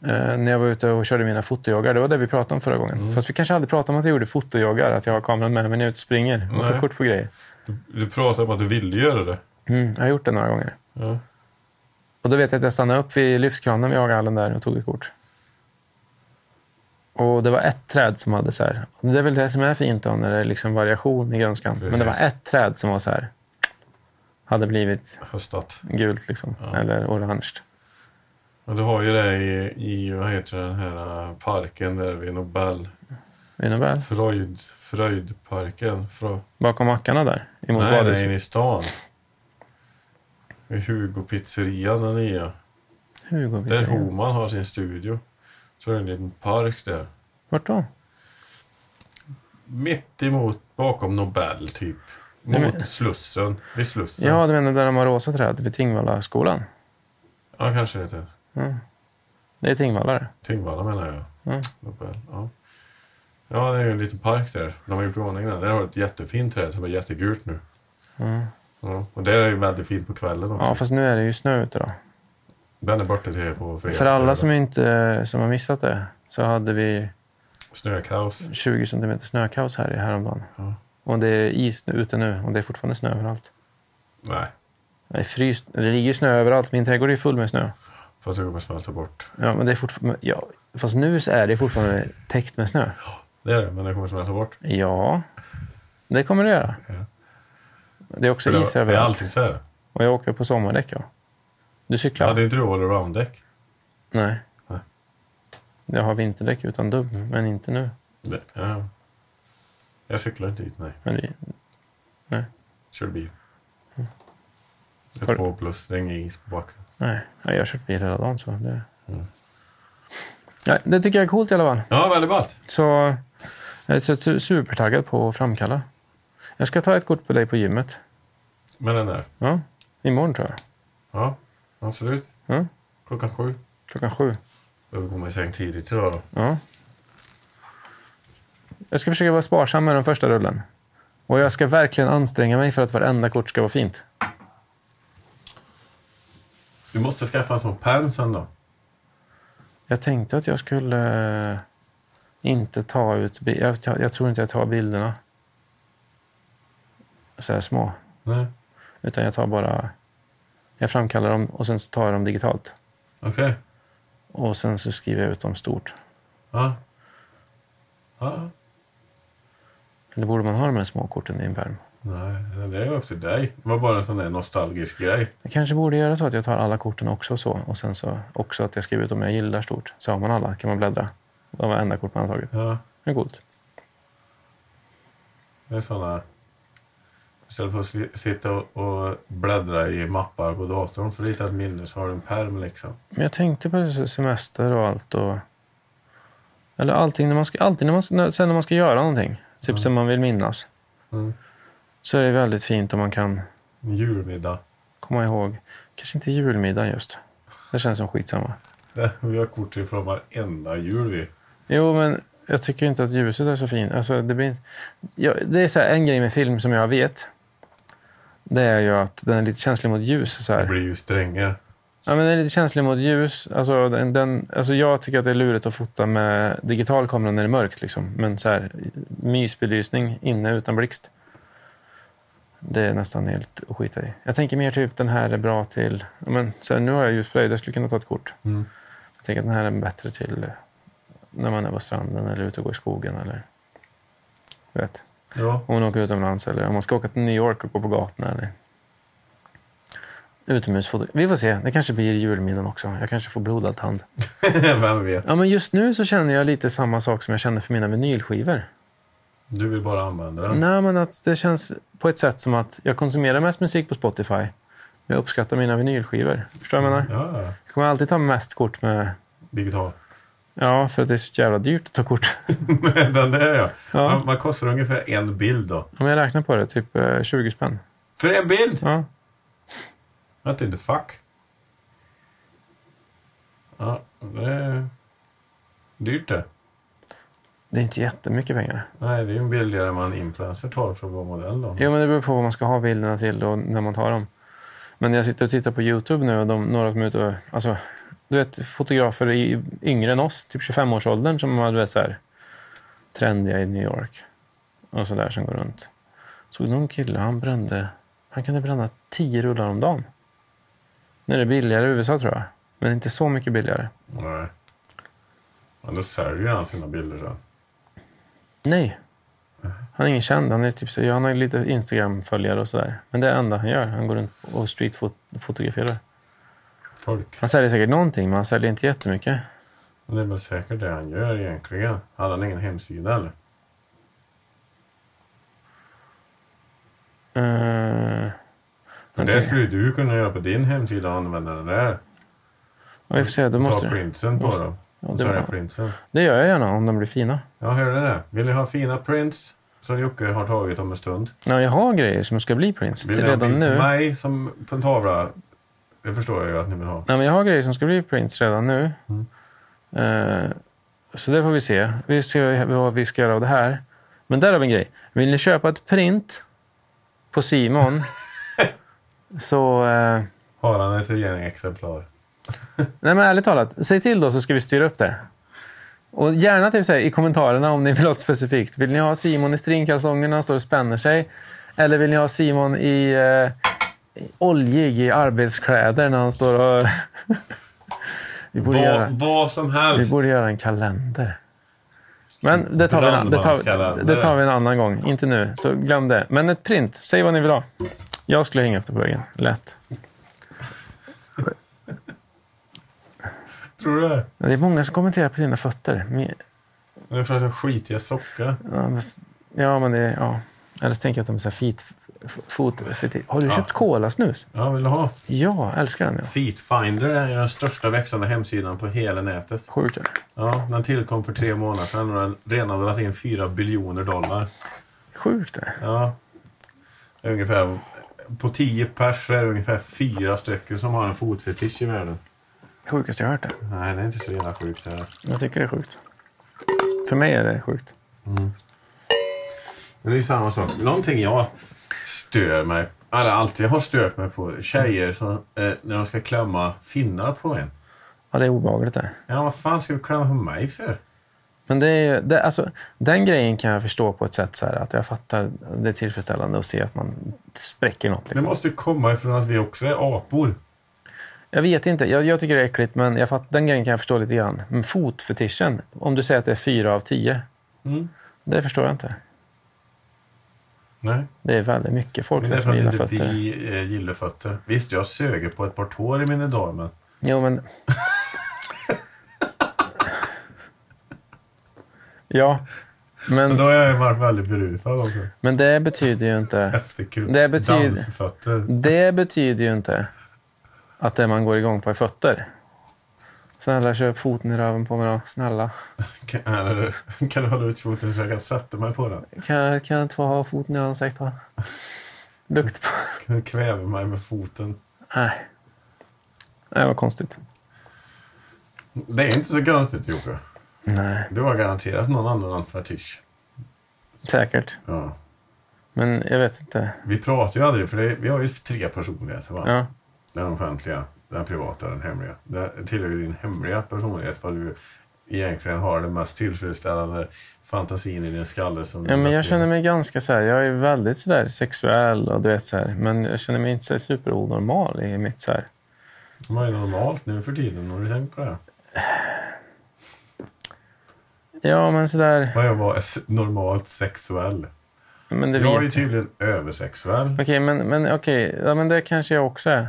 B: Eh, när jag var ute och körde mina fotojoggar. Det var det vi pratade om förra
A: Mm.
B: gången. Fast vi kanske aldrig pratade om att jag gjorde fotojoggar. Att jag har kameran med mig när jag ut springer och tar
A: Nej.
B: kort på grejer.
A: Du, du pratade om att du ville göra det.
B: Mm, jag har gjort det några gånger.
A: Ja.
B: Och då vet jag att jag stannade upp vid lyftkranen vid Hagahallen där och tog ett kort. Och det var ett träd som hade så här... Det är väl det som är fint då, när det är liksom variation i grönskan. Men det var
A: Precis.
B: ett träd som var så här... Hade blivit
A: Höstat.
B: gult liksom. Eller orange.
A: Men du har ju det i, i vad heter den här äh, parken där vid Nobel.
B: Innebär.
A: Fröjd, Fröjdparken. Frö,
B: Bakom mackarna där. Emot
A: nej, nej,
B: badhuset.
A: inne i stan. Vid Hugo-pizzerian den nya.
B: Hugo
A: Där
B: Wittingen.
A: Homan har sin studio. Så är det en liten park där.
B: Vart då?
A: Mitt emot, bakom Nobel typ. Mot
B: Nej, men-
A: Slussen. Vid Slussen.
B: Ja, du menar där de har rosa träd vid Tingvallaskolan? Mm.
A: ja kanske det heter.
B: Det är Tingvalla det.
A: Tingvalla menar jag.
B: Mm.
A: Nobel, ja. ja, det är ju en liten park där. De har gjort i ordning den. Där har ett jättefint träd som är jättegult nu. Ja, och där är ju väldigt fint på kvällen också.
B: Mm. Ja, fast nu är det ju snö ute då.
A: Den är borta till er på fredag.
B: För alla som inte som har missat det så hade vi
A: Snökaos.
B: 20 centimeter snökaos här i häromdagen.
A: Ja.
B: Och det är is nu- ute nu och det är fortfarande snö överallt.
A: Nej,
B: Det, är fryst, det ligger snö överallt. Min trädgård är ju full med snö.
A: fast det kommer smälta bort.
B: Ja, men det är fortfarande, ja, fast nu så är det fortfarande täckt med snö.
A: Det är det, men det kommer smälta bort.
B: Ja, det kommer det göra.
A: Ja.
B: Det är också
A: För det-
B: is
A: Det är
B: överallt.
A: alltid så här.
B: Och jag åker på sommardäck. Ja. Du cyklar?
A: Hade inte du allround-däck?
B: Nej.
A: Nej.
B: Jag har vinterdäck utan dubb, men inte nu.
A: Det- Ja. Jag cyklar inte dit, nej.
B: Men det,
A: Kör bil. Det
B: Mm. Har
A: är
B: du-
A: två plus, det är ingen is på backen.
B: nej, jag har kört bil hela dagen. Så det,
A: Mm.
B: nej, det tycker jag är coolt i alla fall.
A: Ja, väldigt ballt.
B: Så jag är så su- supertaggad på att framkalla. Jag ska ta ett kort på dig på gymmet.
A: Med den där.
B: Ja, imorgon tror jag.
A: Ja, absolut.
B: Ja,
A: Klockan sju.
B: klockan sju.
A: Behöver komma i säng tidigt idag då.
B: Ja. Jag ska försöka vara sparsam med den första rullen. Och jag ska verkligen anstränga mig för att varenda kort ska vara fint.
A: Du måste skaffa en sån pärm sen då.
B: Jag tänkte att jag skulle eh, inte ta ut... bi- Jag, ta- jag tror inte jag tar bilderna. Så här små.
A: Nej.
B: Utan jag tar bara Jag framkallar dem och sen så tar jag dem digitalt.
A: Okej.
B: Och sen så skriver jag ut dem stort.
A: Ja. Ja.
B: Eller borde man ha de här små korten i en pärm?
A: Nej, det är upp till dig. Det var bara en sån där nostalgisk grej.
B: Jag kanske borde göra så att jag tar alla korten också så. Och sen så också att jag skriver ut om jag gillar stort. Så har man alla, kan man bläddra. Det var enda kort man har tagit.
A: Ja,
B: Det är coolt.
A: det är såna... Istället för att si- sitta och- och bläddra i mappar på datorn för att hitta ett minne så har du en perm liksom.
B: Men jag tänkte på se- semester och allt. Och, eller allting, när man ska, alltid när man, när- sen när man ska göra någonting. Typ som man vill minnas.
A: Mm.
B: Så är det väldigt fint om man kan
A: En julmiddag.
B: komma ihåg. Kanske inte julmiddagen just. Det känns som skitsamma.
A: Där vi har kort ifrån varenda jul vi.
B: Jo, men jag tycker inte att ljuset är så fint. Alltså, det, blir inte... ja, det är så här, en grej med film som jag vet. Det är ju att den är lite känslig mot ljus. Så här.
A: Det blir ju strängar.
B: Ja, men den är lite känslig mot ljus. Alltså, den, den, alltså, jag tycker att det är lurigt att fota med digital kamera när det är mörkt. Liksom. Men så här, mysbelysning inne utan blixt. Det är nästan helt att skita i. Jag tänker mer typ den här är bra till... Ja, men, så här, nu har jag ljusspray, jag skulle kunna ta ett kort.
A: Mm.
B: Jag tänker att den här är bättre till när man är på stranden eller ute och går i skogen. Eller, du vet,
A: Ja.
B: om man åker utomlands eller om man ska åka till New York och gå på gatorna. Eller... Utomhusfoto. Vi får se. Det kanske blir julmiddagen också. Jag kanske får blodad tand.
A: Vem vet?
B: Ja, men just nu så känner jag lite samma sak som jag känner för mina vinylskivor.
A: Du vill bara använda den.
B: Nej, men att det känns på ett sätt som att jag konsumerar mest musik på Spotify. Men jag uppskattar mina vinylskivor. Förstår du vad jag menar?
A: Ja, ja.
B: Jag kommer alltid ta mest kort med...
A: digital.
B: Ja, för att det är så jävla dyrt att ta kort.
A: den där ja.
B: Ja.
A: Vad- Vad kostar ungefär en bild då?
B: Om jag räknar på det, typ eh, 20 spänn.
A: För en bild?
B: Ja.
A: What in the fuck? Ja, det är dyrt det.
B: Det är inte jättemycket pengar.
A: Nej, det är ju en billigare man influencer tar för att vara modell då.
B: Jo, men det beror på vad man ska ha bilderna till och när man tar dem. Men jag sitter och tittar på Youtube nu och de, några som är ute och... Alltså, du vet, fotografer i, yngre än oss, typ 25-årsåldern, som var du vet, så här, trendiga i New York. Och så där som går runt. Såg någon kille, han brände... Han kunde bränna 10 rullar om dagen. Nu är det billigare i USA, tror jag. Men inte så mycket billigare.
A: Nej. Men då säljer han sina bilder sen.
B: Nej. Han är ingen känd. Han, är typ, så- ja, han har lite Instagram-följare och sådär. Men det är det enda han gör. Han går runt och streetfotograferar.
A: Folk.
B: Han säljer säkert någonting, men han säljer inte jättemycket. Eh,
A: Men det är väl säkert det han gör egentligen. Hade han ingen hemsida eller?
B: Uh,
A: För det skulle ju du kunna göra på din hemsida och använda den där.
B: ja, vi får se, då
A: Ta
B: måste
A: printsen på dem.
B: Ja,
A: och
B: det
A: sälja
B: var-
A: printsen.
B: det gör jag gärna om de blir fina.
A: Ja, hörde ni det? Vill ni ha fina prints som Jocke har tagit om en stund?
B: Ja, jag har grejer som ska bli prints
A: Vill
B: till
A: ni ha
B: redan
A: bild på
B: nu.
A: mig som på en tavla? Det förstår jag ju att ni vill ha.
B: Nej, men jag har grejer som ska bli prints redan nu. Eh, så det får vi se. Vi ser vad vi ska göra av det här. Men där har vi en grej. Vill ni köpa ett print på Simon så... eh,
A: Har han ett exemplar?
B: Nej, men ärligt talat, säg till då så ska vi styra upp det. Och gärna typ så här, i kommentarerna om ni vill ha något specifikt. Vill ni ha Simon i stringkalsongerna och står och spänner sig? Eller vill ni ha Simon i eh, oljig i arbetskläder när han står och... vi, borde göra,
A: Vad, vad som
B: vi
A: helst!
B: borde göra en kalender. Men det tar, vi en, an- det, tar,
A: Brandmanskalender.
B: det tar vi en annan gång. Inte nu, så glöm det. Men ett print. Säg vad ni vill ha. Jag skulle hänga upp det på väggen. Lätt.
A: Tror du det?
B: Men Det är många som kommenterar på dina fötter. Men-
A: Det är för att jag har skitiga sockor.
B: Ja, men, ja, men det... Ja. Eller så tänker jag att de är så här feet, f- fot... feti- Har du köpt kolasnus?
A: Ja, vill du ha?
B: Ja, älskar den. Ja.
A: Feetfinder är ju den största växande hemsidan på hela nätet.
B: Sjuk. ja.
A: Ja, den tillkom för tre månader sedan och den redan har dragit in fyra biljoner dollar.
B: Sjukt det.
A: Ja. Det är Ungefär, på tio pers så är det ungefär fyra stycken som har en fotfetisch i världen.
B: Sjukaste jag hört det.
A: Nej, det är inte så jävla sjukt det här.
B: Jag tycker det är sjukt. För mig är det sjukt.
A: Men det är ju samma sak. Någonting jag stör mig, eller alltid har stört mig på, tjejer som, eh, när de ska klämma finnar på en.
B: Ja, det är obehagligt det.
A: Ja, vad fan ska du klämma på mig för?
B: Men det är, ju- det, alltså, den grejen kan jag förstå på ett sätt så här, att jag fattar det är tillfredsställande att se att man spräcker något.
A: Det
B: Liksom.
A: måste ju komma ifrån att vi också är apor.
B: Jag vet inte. Jag, jag tycker det är äckligt, men jag fatt, den grejen kan jag förstå lite grann. Men fotfetischen, om du säger att det är fyra av tio,
A: Mm.
B: det förstår jag inte.
A: Nej,
B: Det är väldigt mycket folk
A: men det är för
B: som gillar
A: att inte
B: fötter.
A: vi eh, gillar fötter. Visst, jag söger på ett par tår i mina dagar, men
B: Jo, men... ja, men,
A: Men då har jag ju varit väldigt berusad också.
B: men det betyder ju inte...
A: Efter kru-
B: Det betyder-
A: dansfötter.
B: Det betyder ju inte att det man går igång på är fötter. Snälla, köp foten i röven på mig då. Snälla.
A: Kan, eller, kan du hålla ut foten så jag kan sätta mig på den?
B: Kan jag, kan jag inte få ha foten i ansiktet? Lukt på...
A: Kan du kväva mig med foten?
B: Nej. Nej, vad konstigt.
A: Det är inte så konstigt, Jocke.
B: Nej,
A: Du har garanterat någon annan fetisch.
B: säkert.
A: Ja.
B: Men jag vet inte.
A: Vi pratar ju aldrig, för det, vi har ju tre personligheter. Va?
B: Ja,
A: Den offentliga, den privata, den hemliga. Det tillhör ju din hemliga personlighet för du egentligen har den mest tillfredsställande fantasin i din skalle. Som du
B: ja men jag
A: möter.
B: känner mig ganska så här. Jag är väldigt så där sexuell och du vet så här. Men jag känner mig inte så här superonormal i mitt så här.
A: Vad är normalt nu för tiden? Har du tänkt på det?
B: Ja, men så där.
A: Vad är att vara s- normalt sexuell?
B: Men det
A: Jag är
B: vet-
A: ju typ- tydligen översexuell.
B: Okej, men, men okej. Ja, men det kanske jag också är.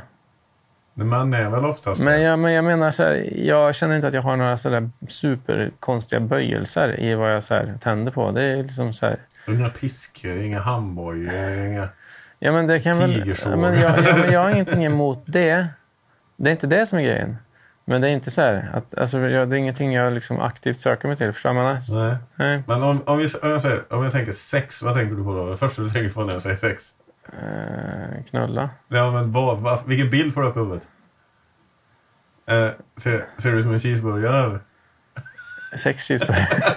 A: Men Män är väl oftast
B: Men
A: det.
B: jag, men jag menar så här, jag känner inte att jag har några så där superkonstiga böjelser i vad jag så här tänder på. Det är liksom så här...
A: Inga piskor, inga handbojor, inga...
B: Ja, men det kan väl...
A: Tigersåg.
B: Ja, men jag, ja, men jag har ingenting emot det. Det är inte det som är grejen. Men det är inte så här att... Alltså, jag, det är ingenting jag liksom aktivt söker mig till. Förstår du vad jag menar?
A: Nej.
B: Nej.
A: Men om, om, vi, om, jag säger, om jag tänker sex, vad tänker du på då? Det första du tänker på när jag säger sex?
B: Eh, knulla.
A: Ja, men vad, vad, vilken bild får du upp i huvudet? Eh, ser, ser du ut som en cheeseburgare eller?
B: Sex cheeseburgare.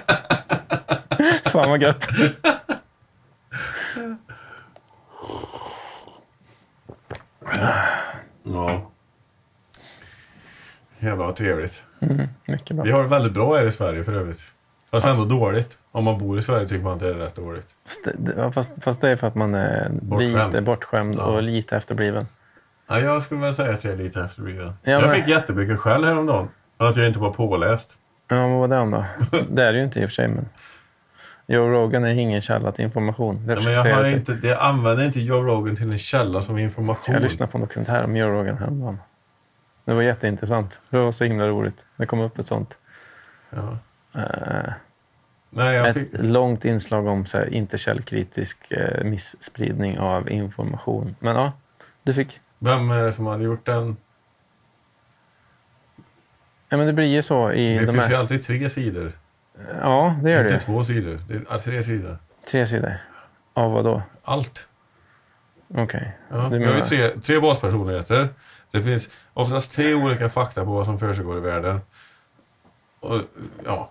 B: Fan vad gött.
A: Ja. Jävlar vad trevligt.
B: Mycket bra.
A: Vi har det väldigt bra här i Sverige för övrigt. Fast ändå dåligt. Om man bor i Sverige tycker man att det är rätt dåligt.
B: Fast, det- ja, fast, fast det är för att man är
A: Bortskämd.
B: lite bortskämd
A: Ja.
B: och lite efterbliven.
A: Ja, jag skulle väl säga att jag är lite efterbliven.
B: Ja,
A: jag
B: men-
A: fick jättemycket skäll häromdagen. För att jag inte var påläst.
B: Ja, vad var det om då? Det är det ju inte i och för sig, men... Joe Rogan är ingen källa till information. Det
A: Ja, men
B: försöker
A: jag,
B: säga
A: har
B: det.
A: inte, jag använder inte Joe Rogan till en källa som information.
B: Jag lyssnade på en dokumentär om Joe Rogan häromdagen. Det var jätteintressant. Det var så himla roligt. Det kom upp ett sånt.
A: Ja.
B: eh,
A: Nej, jag fick...
B: ett långt inslag om så här, inte källkritisk eh, misspridning av information. Men ja, du fick...
A: Vem är det som hade gjort den?
B: Ja, men det blir ju så i
A: Det
B: de
A: finns ju
B: här...
A: alltid tre sidor.
B: Ja, det gör det
A: Inte
B: ju.
A: två sidor. Det är tre sidor.
B: Tre sidor. Av vad då?
A: Allt.
B: Okej.
A: Ja.
B: Du
A: Vi har ju
B: menar-
A: tre, tre baspersonligheter. Det finns oftast tre olika fakta på vad som försiggår i världen. Och, ja.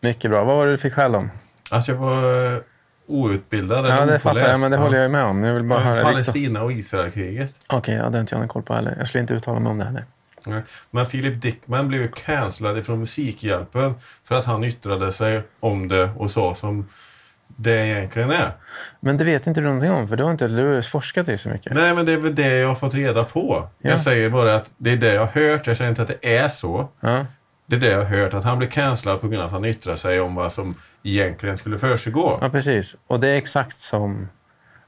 B: Mycket bra. Vad var det du fick skäll om?
A: Alltså jag var eh, outbildad eller
B: Ja, det
A: opåläst.
B: fattar jag, men det
A: Ja.
B: håller jag ju med om. Jag vill bara höra riktigt.
A: Palestina och Israelkriget.
B: Okej, ja, det har inte jag någon koll på heller. Jag skulle inte uttala mig om det heller.
A: Ja. Men Philip Dickman blev ju cancellad från Musikhjälpen för att han yttrade sig om det och sa som det egentligen är.
B: Men det vet inte du någonting om, för du har inte du har forskat i så mycket.
A: Nej, men det är väl det jag har fått reda på.
B: Ja.
A: Jag säger bara att det är det jag har hört. Jag säger inte att det är så.
B: Ja.
A: Det är det jag har hört, att han blev cancellad på grund av att han yttrade sig om vad som egentligen skulle försiggå.
B: ja, precis. Och det är exakt som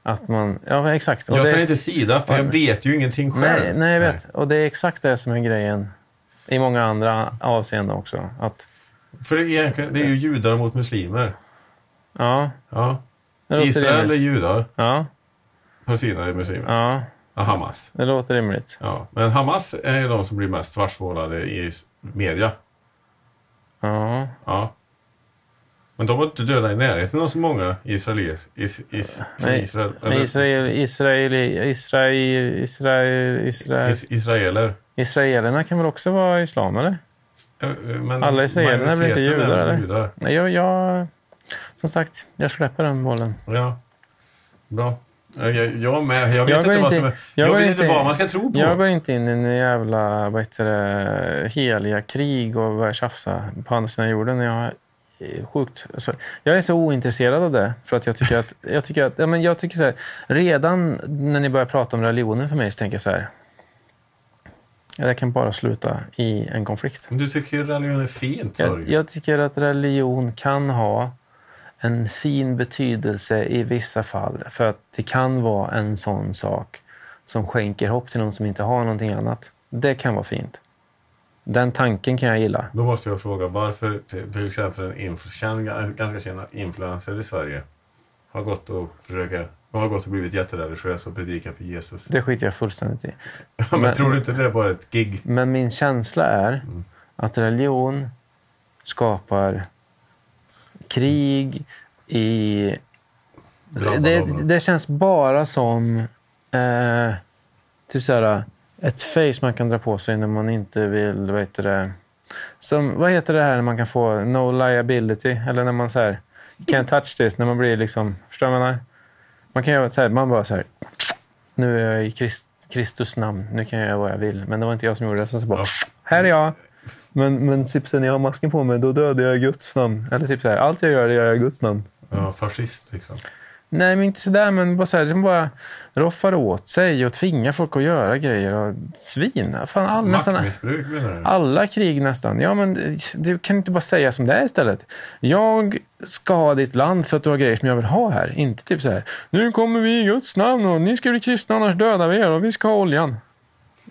B: att man... Ja, exakt. Och
A: jag
B: det...
A: säger inte sida, för jag vet ju ingenting själv.
B: Nej, nej, jag vet. Och det är exakt det som är grejen i många andra avseenden också. Att,
A: Nej. För det är, egentligen- det är ju judar mot muslimer.
B: ja,
A: Ja.
B: det låter
A: Israel är
B: rimligt.
A: judar,
B: Ja,
A: Palestina är muslimer.
B: ja,
A: Och Hamas.
B: det låter rimligt.
A: Ja. Men Hamas är ju de som blir mest svartsvålade i s- media.
B: Ja,
A: Ja. Men de var inte döda i närheten av så många israelier. Is, is, från
B: Nej,
A: Israel,
B: men
A: eller-
B: Israel, Israel, Israel, Israel, Israel,
A: Is, israeler.
B: Israelerna kan väl också vara islam, eller?
A: Eh, eh, Men
B: Alla israelerna blir inte
A: majoriteten är
B: judar,
A: väl
B: eller?
A: judar.
B: Nej, jag, jag... Som sagt, jag släpper den bollen.
A: Ja, bra. Eh, Jag, jag med. Jag vet
B: Jag går
A: inte vad
B: inte-
A: som är...
B: jag
A: Jag,
B: går
A: vet inte
B: inte-
A: vad man ska tro på.
B: Jag går inte in i en jävla vad heter det, heliga krig och börjar tjafsa på andra sidan jorden. Jag är sjukt... Alltså, jag är så ointresserad av det. För att jag tycker att... Jag tycker att ja, men jag tycker så här, redan när ni börjar prata om religionen för mig så tänker jag så här... Ja, det kan bara sluta i en konflikt.
A: Men du tycker ju religion är fint, sa du
B: Jag,
A: ju.
B: jag tycker att religion kan ha en fin betydelse i vissa fall. För att det kan vara en sån sak som skänker hopp till någon som inte har någonting annat. Det kan vara fint. Den tanken kan jag gilla.
A: Då måste jag fråga varför till, till exempel en influ- känd, ganska känd influencer i Sverige har gått och försöker har gått och blivit jättereligiös och predikar för Jesus.
B: Det skiter jag fullständigt i.
A: men,
B: men-
A: tror du inte det är bara ett gig?
B: Men min känsla är att religion skapar krig i...
A: Drabbar
B: Det,
A: dem.
B: det känns bara som eh, typ såhär, ett face man kan dra på sig när man inte vill... Vad heter det, som, vad heter det här när man kan få no liability? Eller när man så här, can't touch this. När man blir liksom... Förstår du vad jag menar? Man kan göra så här, man bara så här... Nu är jag i Krist, Kristus namn. Nu kan jag göra vad jag vill. Men det var inte jag som gjorde det. Sen så bara...
A: Ja.
B: Här är jag. Men, men typ sen jag har masken på mig, då dödar jag i Guds namn. Eller typ så här, allt jag gör, det gör jag i Guds namn.
A: Ja, fascist liksom.
B: Nej, men inte sådär, men bara så här, de bara roffar åt sig och tvingar folk att göra grejer. Och svin. Fan, all, nästan,
A: Maktmissbruk menar du?
B: alla krig nästan. Ja, men du kan inte bara säga som det är istället. Jag ska ha ditt land för att du har grejer som jag vill ha här. Inte typ så här, nu kommer vi i Guds namn och ni ska bli kristna annars dödar vi er och vi ska ha oljan.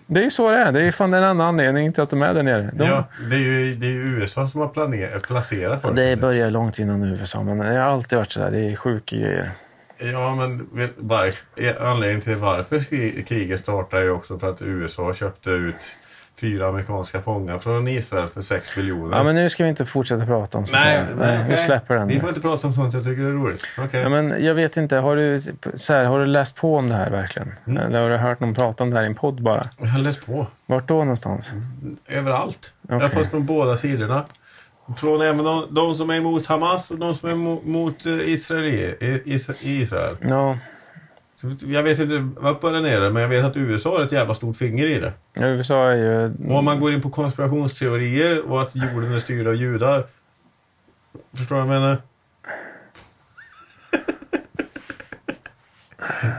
B: Det är ju så det är. Det är fan den enda anledningen till att de är där nere. De,
A: Ja, det är ju det är ju USA som har planer, placerat folk.
B: Det börjar långt innan USA, men jag har alltid varit sådär. Det är sjuka grejer.
A: Ja, men vet- varf- e, anledningen till varför skri- kriget startade är ju också för att USA köpte ut fyra amerikanska fångar från Israel för 6 miljoner.
B: Ja, men nu ska vi inte fortsätta prata om sånt
A: Nej,
B: här.
A: nej,
B: Vi
A: nej.
B: släpper den.
A: Vi får inte prata om sånt jag tycker det är roligt. Okej.
B: Ja, men jag vet inte, har du, så här, har du läst på om det här verkligen?
A: Mm.
B: Eller har du hört någon prata om det här i en podd bara?
A: Jag har läst på.
B: Vart då någonstans?
A: Överallt. Jag har
B: Okej.
A: fått från båda sidorna. Från även de, de som är emot Hamas och de som är mo- mot eh, Israel. i- Is, i Israel.
B: Ja,
A: Så Jag vet inte vad på den är det, men jag vet att USA har ett jävla stort finger i det.
B: USA är ju...
A: Och om man går in på konspirationsteorier och att jorden är styrd av judar. Förstår du vad jag menar?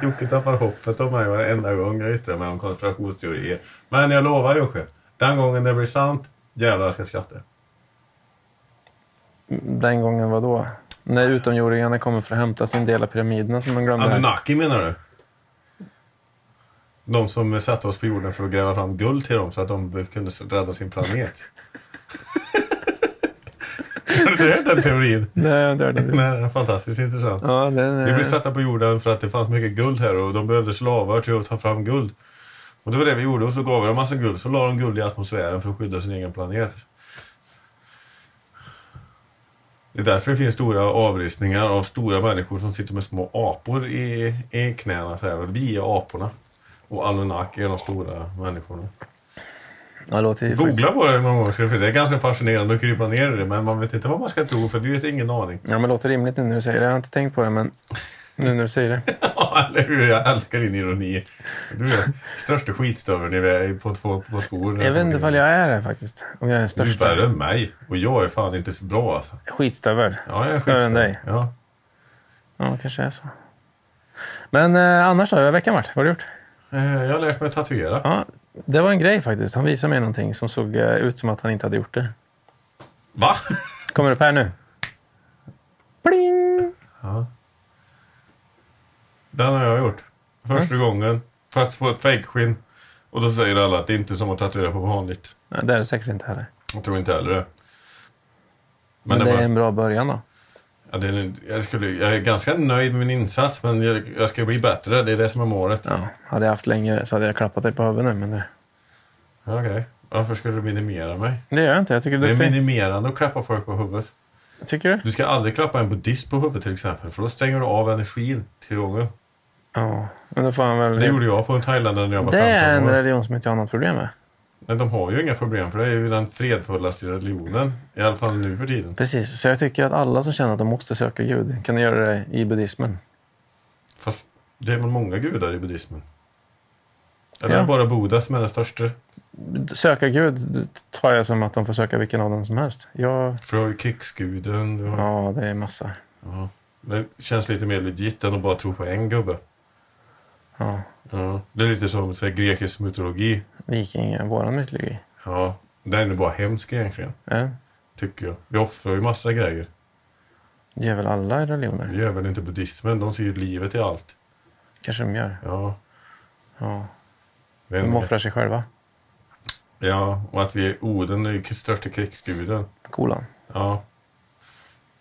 A: Jocke tappar hoppet om mig varenda gång jag yttrar mig om konspirationsteorier. Men jag lovar Jocke, den gången det blir sant, jävlar jag ska skratta.
B: Den gången var då? När utomjordingarna kommer för att hämta sin del av pyramiderna som de glömde. här.
A: Anunnaki menar du? De som satte oss på jorden för att gräva fram guld till dem så att de kunde rädda sin planet. Har du hört den teorin?
B: Nej, jag dör det.
A: Nej, den är fantastiskt intressant.
B: Ja, den
A: Vi
B: är...
A: blev satta på jorden för att det fanns mycket guld här och de behövde slavar till att ta fram guld. Och det var det vi gjorde och så gav vi dem massa guld. Så la de guld i atmosfären för att skydda sin egen planet. Det är därför det finns stora avristningar av stora människor som sitter med små apor i, i knäna. Så här. Och Vi är aporna. Och Anunnaki är de stora människorna.
B: Ja, det låter ju faktiskt...
A: Googla på det någon gång, för det är ganska fascinerande att krypa ner i det. Men man vet inte vad man ska tro, för vi vet ingen aning.
B: Ja, men det låter rimligt nu när du säger det. Jag har inte tänkt på det, men nu när du säger det.
A: Ja, eller hur? Jag älskar din ironi. Du är största skitstöveln i världen på, på, på skor.
B: Jag vet inte ifall jag är det faktiskt. Om jag är den
A: Du är
B: största.
A: värre än mig. Och jag är fan inte så bra alltså.
B: Skitstövel.
A: Ja, jag är
B: Större än
A: skitstövel.
B: dig.
A: Ja.
B: Ja, det kanske är så. Men eh, annars då? Hur har veckan varit? Vad har du gjort?
A: Eh, Jag har lärt mig att tatuera.
B: Ja, det var en grej faktiskt. Han visade mig någonting som såg eh, ut som att han inte hade gjort det.
A: Va?
B: Kommer upp här nu. Pling!
A: Den har jag gjort. Första
B: Mm.
A: gången. Fast på ett fejkskinn. Och då säger alla att det inte är som att tatuera på vanligt.
B: Nej, det är det säkert inte heller.
A: Jag tror inte heller det.
B: Men,
A: Men,
B: det
A: det
B: är
A: var,
B: en bra början då.
A: ja, det är, jag, skulle, jag är ganska nöjd med min insats, men jag, jag ska bli bättre. Det är det som är målet.
B: Ja, hade jag haft längre så hade jag klappat dig på huvudet nu, men det,
A: Okej. Varför ska du minimera mig?
B: det gör jag inte. Jag tycker du
A: Det
B: är
A: är
B: duktig.
A: minimerande att klappa folk på huvudet.
B: Tycker du?
A: Du ska aldrig klappa en buddhist på huvudet till exempel, för då stänger du av energin till gången.
B: Ja, men då får han väl...
A: Det gjorde jag på en thailändare när jag var
B: Det är
A: 15
B: en
A: år.
B: religion som inte jag har något problem med.
A: Men de har ju inga problem, för det är ju den fredfullaste religionen. I alla fall nu för tiden.
B: Precis, så jag tycker att alla som känner att de måste söka Gud kan göra det i buddhismen.
A: Fast det är väl många gudar i buddhismen? Eller
B: Ja.
A: är det bara Buddha som är den största?
B: Söka Gud tar jag som att de får söka vilken av dem som helst. Jag...
A: För du har ju krigsguden. Du har...
B: Ja, det är massa.
A: Ja. Det känns lite mer legit än att bara tro på en gubbe.
B: Ja.
A: Ja. Det är lite som så här, grekisk mytologi.
B: Vikingar, våran mytologi.
A: Ja. Den är bara hemsk egentligen,
B: Ja.
A: tycker jag. Vi offrar ju massa grejer.
B: Det gör väl alla religioner?
A: Det gör väl inte buddhismen? De ser ju livet i allt.
B: Kanske de gör.
A: Ja.
B: Ja.
A: Men,
B: De offrar sig själva.
A: Ja, och att vi... Oden är ju k- största krigsguden.
B: Kolan.
A: Ja.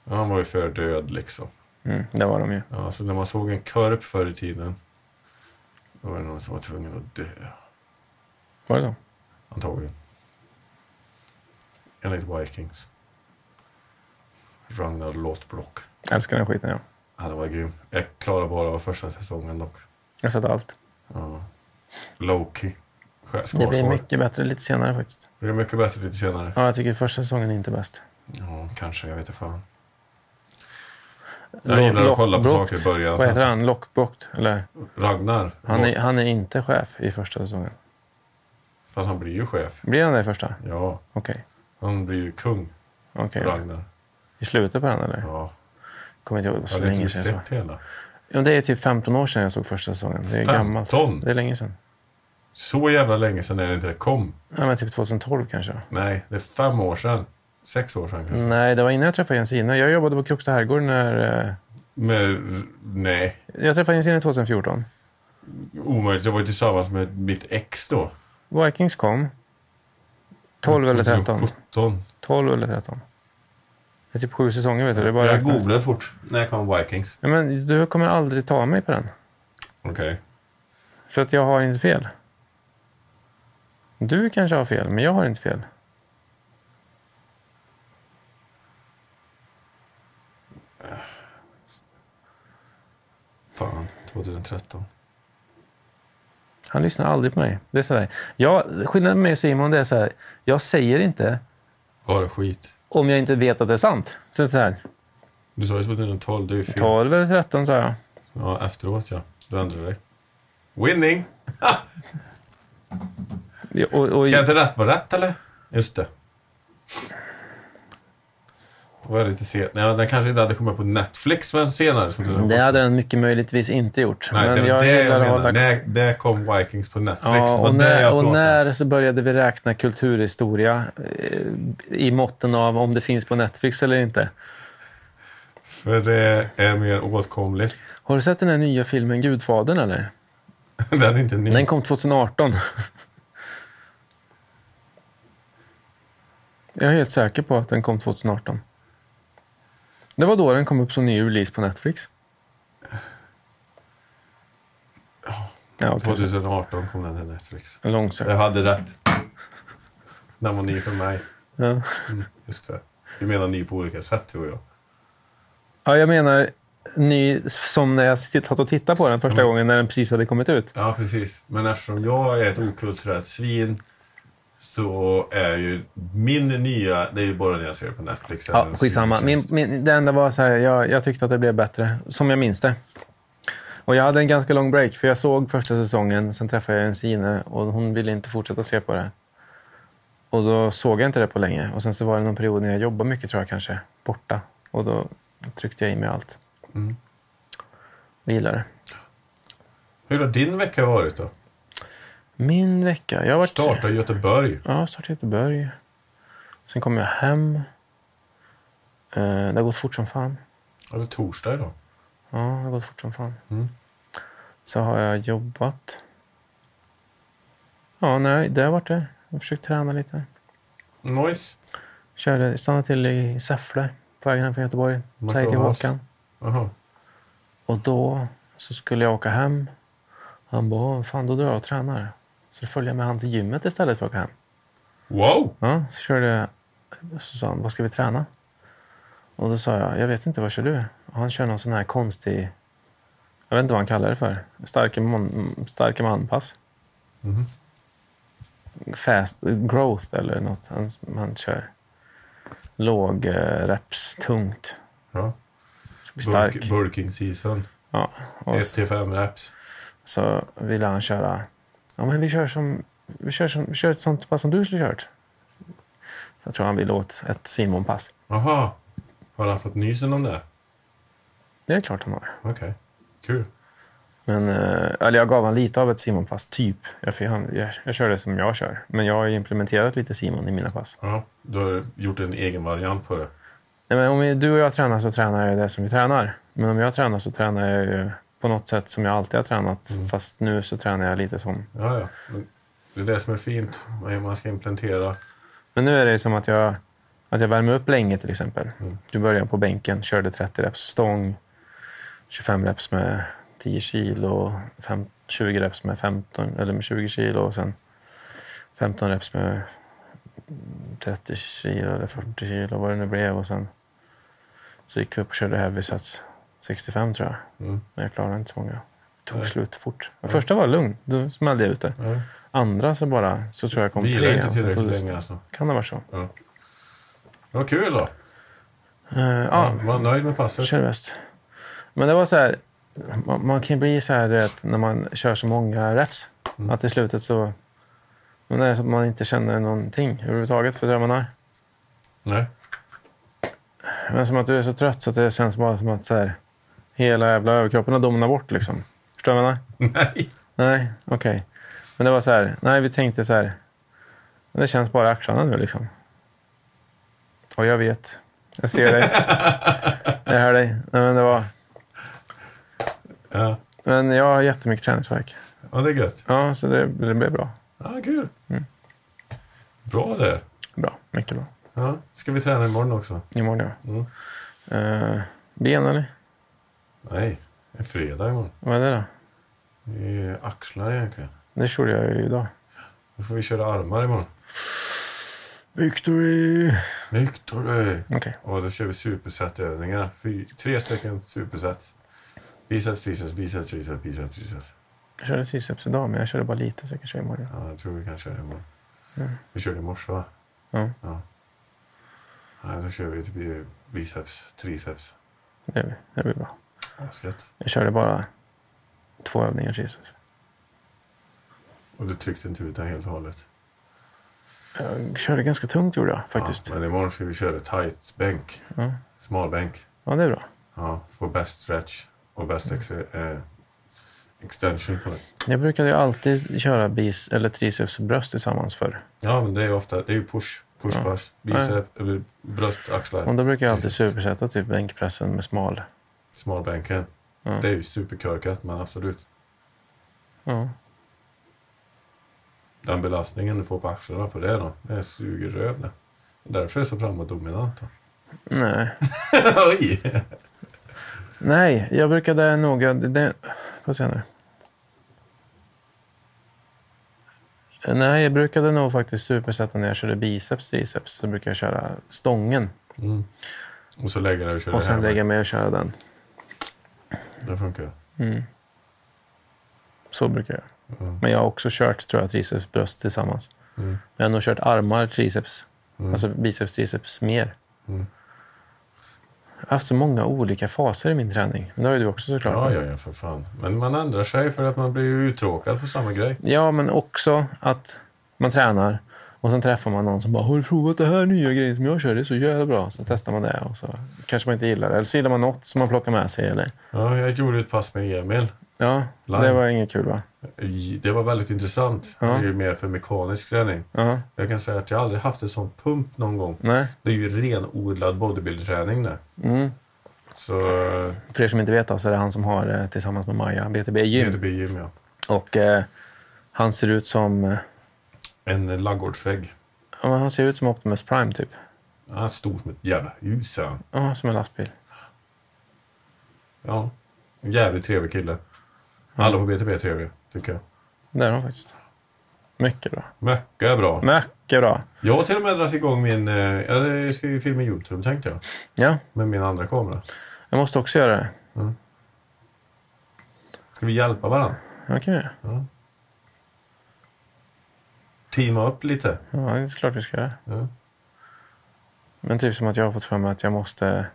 A: ja. Han var ju för död liksom.
B: Mm, det var de ju.
A: Ja, så när man såg en korp förr i tiden då var det någon som var tvungen att dö.
B: Var det så?
A: Antagligen. Enligt Vikings. Ragnar Låtblock.
B: Jag älskar den skiten, ja.
A: Han var grym. Jag klarade bara av första säsongen dock.
B: Jag har sett allt.
A: Ja. Loki. Skär- skar-
B: Det blir
A: skar.
B: mycket bättre lite senare faktiskt.
A: det blir mycket bättre lite senare.
B: Ja, jag tycker första säsongen är inte bäst.
A: Ja, kanske. Jag vet inte fan. Jag gillar att kolla på
B: Lockbrock.
A: saker i början.
B: Vad
A: Sen
B: heter
A: så-
B: han? Lockbokt? Eller?
A: Ragnar.
B: Han är, han är inte chef i första säsongen.
A: Fast han blir ju chef.
B: Blir han det i första?
A: Ja,
B: Okej.
A: han blir ju kung.
B: Okej.
A: Ragnar.
B: I slutet på den eller?
A: Ja.
B: Kommer inte ihåg. Det var
A: Jag
B: så
A: har
B: länge
A: inte
B: sedan jag såg.
A: sett hela.
B: Ja, men det är typ 15 år sedan jag såg första säsongen. Det är
A: 15?
B: gammalt. Det är länge sedan.
A: Så jävla länge sedan är det inte det kom.
B: Ja, men typ 2012 kanske.
A: Nej, det är fem år sedan. Sex år sedan kanske.
B: Nej, det var innan jag träffade Jensina. Jag jobbade på Kroksta herrgård när... eh,
A: Men r- nej,
B: Jag träffade Jensina 2014.
A: omöjligt. Jag var ju tillsammans med mitt ex då.
B: Vikings kom. 12 eller 13.
A: 2017.
B: 12 eller 13. Det är typ sju säsonger vet du. Det är bara att
A: Jag
B: räkna.
A: googlade fort. När kom Vikings?
B: ja, men Du kommer aldrig ta mig på den.
A: Okej.
B: För att jag har inte fel. Du kanske har fel, men jag har inte fel.
A: Fan, 2013.
B: Han lyssnar aldrig på mig. Det är så där. Jag, skillnaden med mig och Simon det är så här. Jag säger inte
A: Var det skit?
B: om jag inte vet att det är sant. Så så här,
A: Du sa ju 2012, det är ju fel.
B: 12 eller 13 sa jag.
A: Ja, efteråt ja. Du ändrade dig. Winning!
B: Och, och,
A: Ska inte rätt vara rätt eller? Just det. Då var jag lite sen. Nej, den kanske inte hade kommit på Netflix men senare. Så det
B: det hade den mycket möjligtvis inte gjort.
A: Nej, det var
B: jag
A: det
B: gillar
A: jag
B: att
A: menar.
B: hålla-
A: När, när kom Vikings på Netflix?
B: Ja,
A: Det var
B: och
A: det
B: när,
A: jag
B: och
A: pratade om.
B: när så började vi räkna kulturhistoria eh, i måtten av om det finns på Netflix eller inte.
A: För det är mer åtkomligt.
B: Har du sett den här nya filmen Gudfadern
A: Mm.
B: eller?
A: den är inte ny.
B: Den kom 2018. Jag är helt säker på att den kom 2018. Det var då den kom upp som ny release på Netflix. Ja, okej.
A: 2018 kom den till Netflix.
B: Långsökt.
A: Jag hade rätt. Den var ny för mig.
B: Ja.
A: Mm, just det. Vi menar ny på olika sätt, du och jag.
B: Ja, jag menar ny som när jag satt och tittade på den första gången när den precis hade kommit ut.
A: Ja, precis. Men eftersom jag är ett okulturellt svin så är ju min nya... Det är ju bara när jag ser på Netflix. eller
B: Ja,
A: en
B: skitsamma. Min,
A: streamingtjänst.
B: min, det enda var så här, jag, jag tyckte att det blev bättre, som jag minns det. Och jag hade en ganska lång break, för jag såg första säsongen, sen träffade jag en sine och hon ville inte fortsätta se på det. Och då såg jag inte det på länge. Och sen så var det någon period när jag jobbade mycket, tror jag kanske, borta. Och då tryckte jag i mig allt.
A: Mm.
B: Och gillade det.
A: Hur har din vecka varit då?
B: Min vecka, jag har varit...
A: Starta i Göteborg.
B: Ja, startade i Göteborg. Sen kom jag hem. Eh, Det har gått fort som fan.
A: Ja, det är Alltså, torsdag idag.
B: Ja, det har gått fort som fan.
A: Mm.
B: Så har jag jobbat. Ja, nej, det har varit det. Jag har försökt träna lite.
A: Nice.
B: Körde, stannade till i Säffle på vägen hem från Göteborg.
A: Mackan
B: Säg till
A: och Hans.
B: Håkan.
A: Aha.
B: Och då så skulle jag åka hem. Han bara, "Åh, fan då drar jag och tränar. Så då följde jag med han till gymmet istället för att åka hem.
A: Wow!
B: Ja, så körde jag. Så sa han, vad ska vi träna? Och då sa jag, jag vet inte, vad kör du? Och han kör någon sån här konstig, jag vet inte vad han kallar det för, starke man, starke manpass.
A: Mhm.
B: Fast growth eller något. Han, han kör låg eh, reps, tungt.
A: Ja.
B: Blir stark.
A: Bulk, bulking season.
B: Ja, och
A: 1 till 5 reps.
B: så ville han köra, ja men vi kör som, vi kör, som, vi kör ett sånt pass som du skulle kört. Jag tror han ville åt ett Simon-pass.
A: Aha. Har han fått nysen om det?
B: Det är klart han har.
A: Okej. Kul.
B: Men, eh, eller jag gav han lite av ett Simon-pass, typ. Jag, fick- han, jag, jag körde som jag kör. Men jag har ju implementerat lite Simon i mina pass.
A: Ja, du har gjort en egen variant på det.
B: Nej, men om vi, du och jag tränar så tränar jag det som vi tränar. Men om jag tränar så tränar jag ju på något sätt som jag alltid har tränat. Fast nu så tränar jag lite som...
A: Ja, ja. Men det är det som är fint. Man man ska implementera.
B: Men nu är det ju som att jag, att jag värmer upp länge till exempel.
A: Mm.
B: Du börjar på bänken, körde 30 reps stång, 25 reps med 10 kilo, fem- 20 reps med, 15, eller med 20 kilo och sen 15 reps med 30 kilo eller 40 kilo, vad det nu blev. Och sen så gick vi upp och körde heavy sats 65 tror jag.
A: Mm.
B: Men jag klarade inte så många. Det tog
A: Nej.
B: slut fort. Den första var lugn, då smällde jag ut det.
A: Ja.
B: Andra så bara, så tror jag kom
A: Vila
B: tre.
A: inte
B: och sen tog det
A: tillräckligt
B: slut.
A: länge alltså.
B: Kan det vara så?
A: Ja. Vad kul då!
B: Eh, ja,
A: Var nöjd med passet?
B: kör bäst. Men det var så här, man, man kan ju bli så här du vet, när man kör så många reps. Att i slutet så... Men det är så att man inte känner någonting överhuvudtaget för det man har.
A: Nej.
B: Men som att du är så trött så att det känns bara som att så här, hela jävla överkroppen har domnat bort. Liksom. Förstår du vad jag menar?
A: Nej.
B: Nej, okej. Men det var så här, nej vi tänkte så här, men det känns bara i axlarna nu liksom. Och jag vet, jag ser dig, jag hör dig. Nej, men det var...
A: Ja.
B: Men jag har jättemycket träningsvärk.
A: ja, det är gött.
B: Ja, så det, det blev bra.
A: Ja, kul!
B: Mm.
A: Bra där.
B: Bra, mycket bra.
A: Ja. Ska vi träna imorgon också?
B: Imorgon ja.
A: Mm.
B: Eh, ben eller?
A: Nej, det är fredag imorgen.
B: Vad är det då?
A: Det är axlar egentligen.
B: Det körde jag ju idag.
A: Då får vi köra armar imorgon.
B: Victory!
A: Victory!
B: Okej.
A: Och då kör vi superset-övningar. Fy- Tre stycken supersets. Biceps, triceps, biceps, triceps, biceps, triceps.
B: Jag körde triceps idag, men jag körde bara lite så jag kan köra imorgon.
A: Ja, jag tror vi kan köra imorgon. Vi körde i morse va?
B: Ja,
A: Ja. Nej, då kör vi typ biceps, triceps.
B: det, det blir bra.
A: Asgött.
B: Jag körde bara två övningar triceps.
A: Och du tryckte inte ut den helt och hållet.
B: Jag körde ganska tungt gjorde jag faktiskt.
A: Ja, men imorgon ska vi köra tight bänk.
B: Ja.
A: Smal bänk.
B: Ja, det är bra.
A: Ja, få bäst stretch och bäst ex-
B: Mm.
A: eh, extension på det.
B: Jag brukade ju alltid köra bis eller triceps och bröst tillsammans förr.
A: Ja, men det är ofta det är ju push. Push,
B: Ja.
A: push. Bicep, eller bröst, axlar.
B: Och då brukar jag alltid supersätta typ bänkpressen med smal.
A: Smalbänken.
B: Ja.
A: Det är ju superkorkat, men absolut.
B: Ja.
A: Den belastningen du får på axlarna på det då, det suger röv det. Därför är det så framåtdominant. då.
B: Nej.
A: Oj!
B: Nej, jag brukade nog... Det, det, får se nu. Nej, jag brukade nog faktiskt supersätta när jag körde biceps, triceps. Så brukade jag köra stången
A: Mm. Och så lägger jag och kör
B: och
A: det
B: sen
A: här
B: lägga mig och köra den. Mm.
A: med. Det funkar.
B: Så brukar jag
A: Mm.
B: Men jag har också kört tror jag, triceps, bröst tillsammans.
A: Mm.
B: Men jag har nog kört armar, triceps.
A: Mm.
B: Alltså biceps, triceps mer.
A: Mm.
B: Jag har haft så många olika faser i min träning. Men det har ju du också såklart.
A: Ja, ja, ja, för fan. Men man ändrar sig för att man blir ju uttråkad på samma grej.
B: Ja, men också att man tränar och sen träffar man någon som bara “Har du provat det här nya grejen som jag kör? Det är så jävla bra”. Så testar man det och så kanske man inte gillar det. Eller så gillar man något som man plockar med sig. Eller...
A: Ja, jag gjorde ett pass med Emil.
B: Ja,
A: Lime.
B: det var inget kul va?
A: Det var väldigt intressant.
B: Ja.
A: Det är ju mer för mekanisk träning.
B: Ja,
A: Jag kan säga att jag aldrig haft en sån pump någon gång.
B: nej.
A: Det är ju renodlad bodybuildträning det.
B: Mm.
A: Så eh,
B: För er som inte vet då, så är det han som har det tillsammans med Maja, BTB Gym.
A: BDB gym ja.
B: Och eh, han ser ut som... eh,
A: En eh, laggårdsvägg.
B: Ja, men han ser ut som Optimus Prime typ.
A: Ja, stort med ett jävla hus är han.
B: Ja, som en lastbil.
A: Ja. En jävligt trevlig kille. Alla på BTB är trevliga, tycker jag.
B: Det är han faktiskt. Mycket bra.
A: Mycket bra.
B: Mycket bra.
A: Jag har till och med dragit igång min... eh, ja, Jag ska ju filma YouTube tänkte jag.
B: Ja,
A: Med min andra kamera.
B: jag måste också göra det.
A: Ska vi hjälpa varandra?
B: Ja, kan vi göra.
A: Teama upp lite?
B: Ja, det är klart vi ska göra.
A: Ja.
B: Men typ som att jag har fått för mig att jag måste,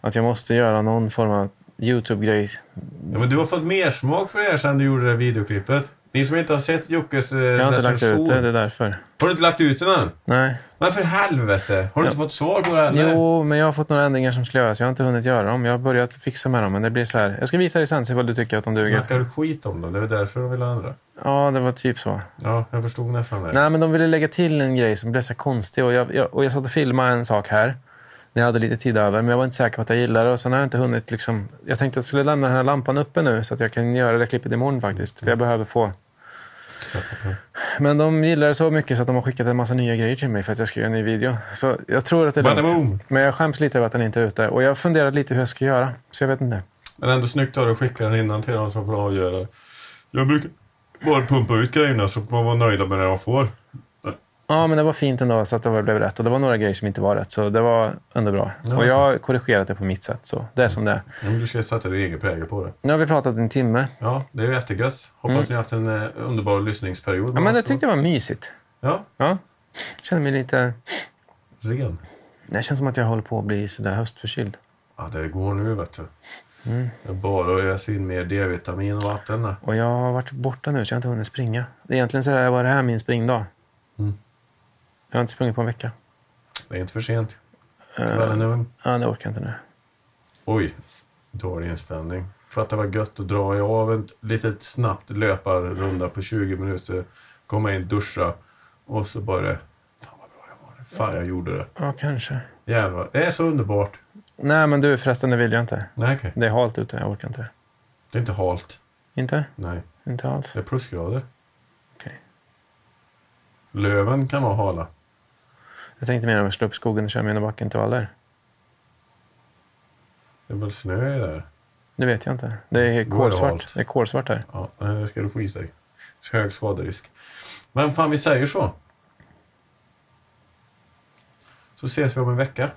B: att jag måste göra någon form av YouTube-grej.
A: Ja, men du har fått mer smak för det här sen du gjorde det här videoklippet. Ni som inte har sett Jockes eh,
B: Jag har inte lagt ut
A: recension.
B: det, det är därför.
A: Har du inte lagt ut den än?
B: Nej.
A: Men för helvete! Har du inte fått svar på det heller?
B: Jo, men jag har fått några ändringar som ska göras. Jag har inte hunnit göra dem. Jag har börjat fixa med dem, men det blir så här. Jag ska visa dig sen, se vad du tycker att de duger.
A: Snackar du skit om dem? Det är väl därför de vill ha andra?
B: Ja, det var typ så.
A: Ja, jag förstod nästan det.
B: Nej, men de ville lägga till en grej som blev så här konstig. Och jag, jag, och jag satt och filmade en sak här. Det hade lite tid över, men jag var inte säker på att jag gillade det. Och sen har jag inte hunnit liksom... Jag tänkte att jag skulle lämna den här lampan uppe nu så att jag kan göra det klippet imorgon faktiskt. För jag behöver få... Men de gillar det så mycket så att de har skickat en massa nya grejer till mig för att jag ska göra en ny video. Så jag tror att det är
A: Badaboom!
B: lugnt. Men jag skäms lite över att den inte är ute. Och jag funderar lite hur jag ska göra. Så jag vet inte.
A: Men ändå snyggt av dig att skicka den innan till någon som får avgöra. Jag brukar bara pumpa ut grejerna så får man vara nöjda med det jag får.
B: Ja, men det var fint ändå så att det var- blev rätt. Och det var några grejer som inte var rätt, så det var ändå bra.
A: var
B: och jag har korrigerat det på mitt sätt, så det är som det är.
A: Ja, men Du ska sätta din egen prägel på det.
B: Nu har vi pratat en timme.
A: Ja, det är jättegött. Hoppas ni har haft en eh, underbar lyssningsperiod.
B: Ja, men jag tyckte det var mysigt.
A: Ja,
B: Ja. Jag känner mig lite...
A: ren.
B: Det känns som att jag håller på att bli sådär höstförkyld.
A: Ja, det går nu vet du. Jag bara öser in mer D-vitamin och vatten. där.
B: Och jag har varit borta nu, så jag har inte hunnit springa. Egentligen så här var det här min springdag.
A: Mm.
B: Jag har inte sprungit på en vecka.
A: Det är inte för sent. Kvällen är ung.
B: Ja, det orkar jag inte nu.
A: Oj, dålig inställning. Fatta vad gött att dra i av en litet snabbt löparrunda på 20 minuter. Komma in, duscha och så bara... Fan vad bra jag var. nu. Fan jag gjorde det.
B: Ja, kanske.
A: Jävlar, det är så underbart.
B: Nej, men du förresten, det vill jag inte.
A: Nej, okej.
B: Det är halt ute, jag orkar inte.
A: Det är inte halt.
B: Inte?
A: Nej,
B: Inte alls?
A: det är plusgrader.
B: Okej.
A: Löven kan vara hala.
B: Jag tänkte mer om att slå upp skogen och köra mina backintervaller.
A: Det är väl snö där?
B: Det vet jag inte. Det är
A: Går det halt?
B: kolsvart. Det är kolsvart här.
A: Ja, nej, det ska du skita i. Så Hög skaderisk. Men fan, vi säger så. Så ses vi om en vecka.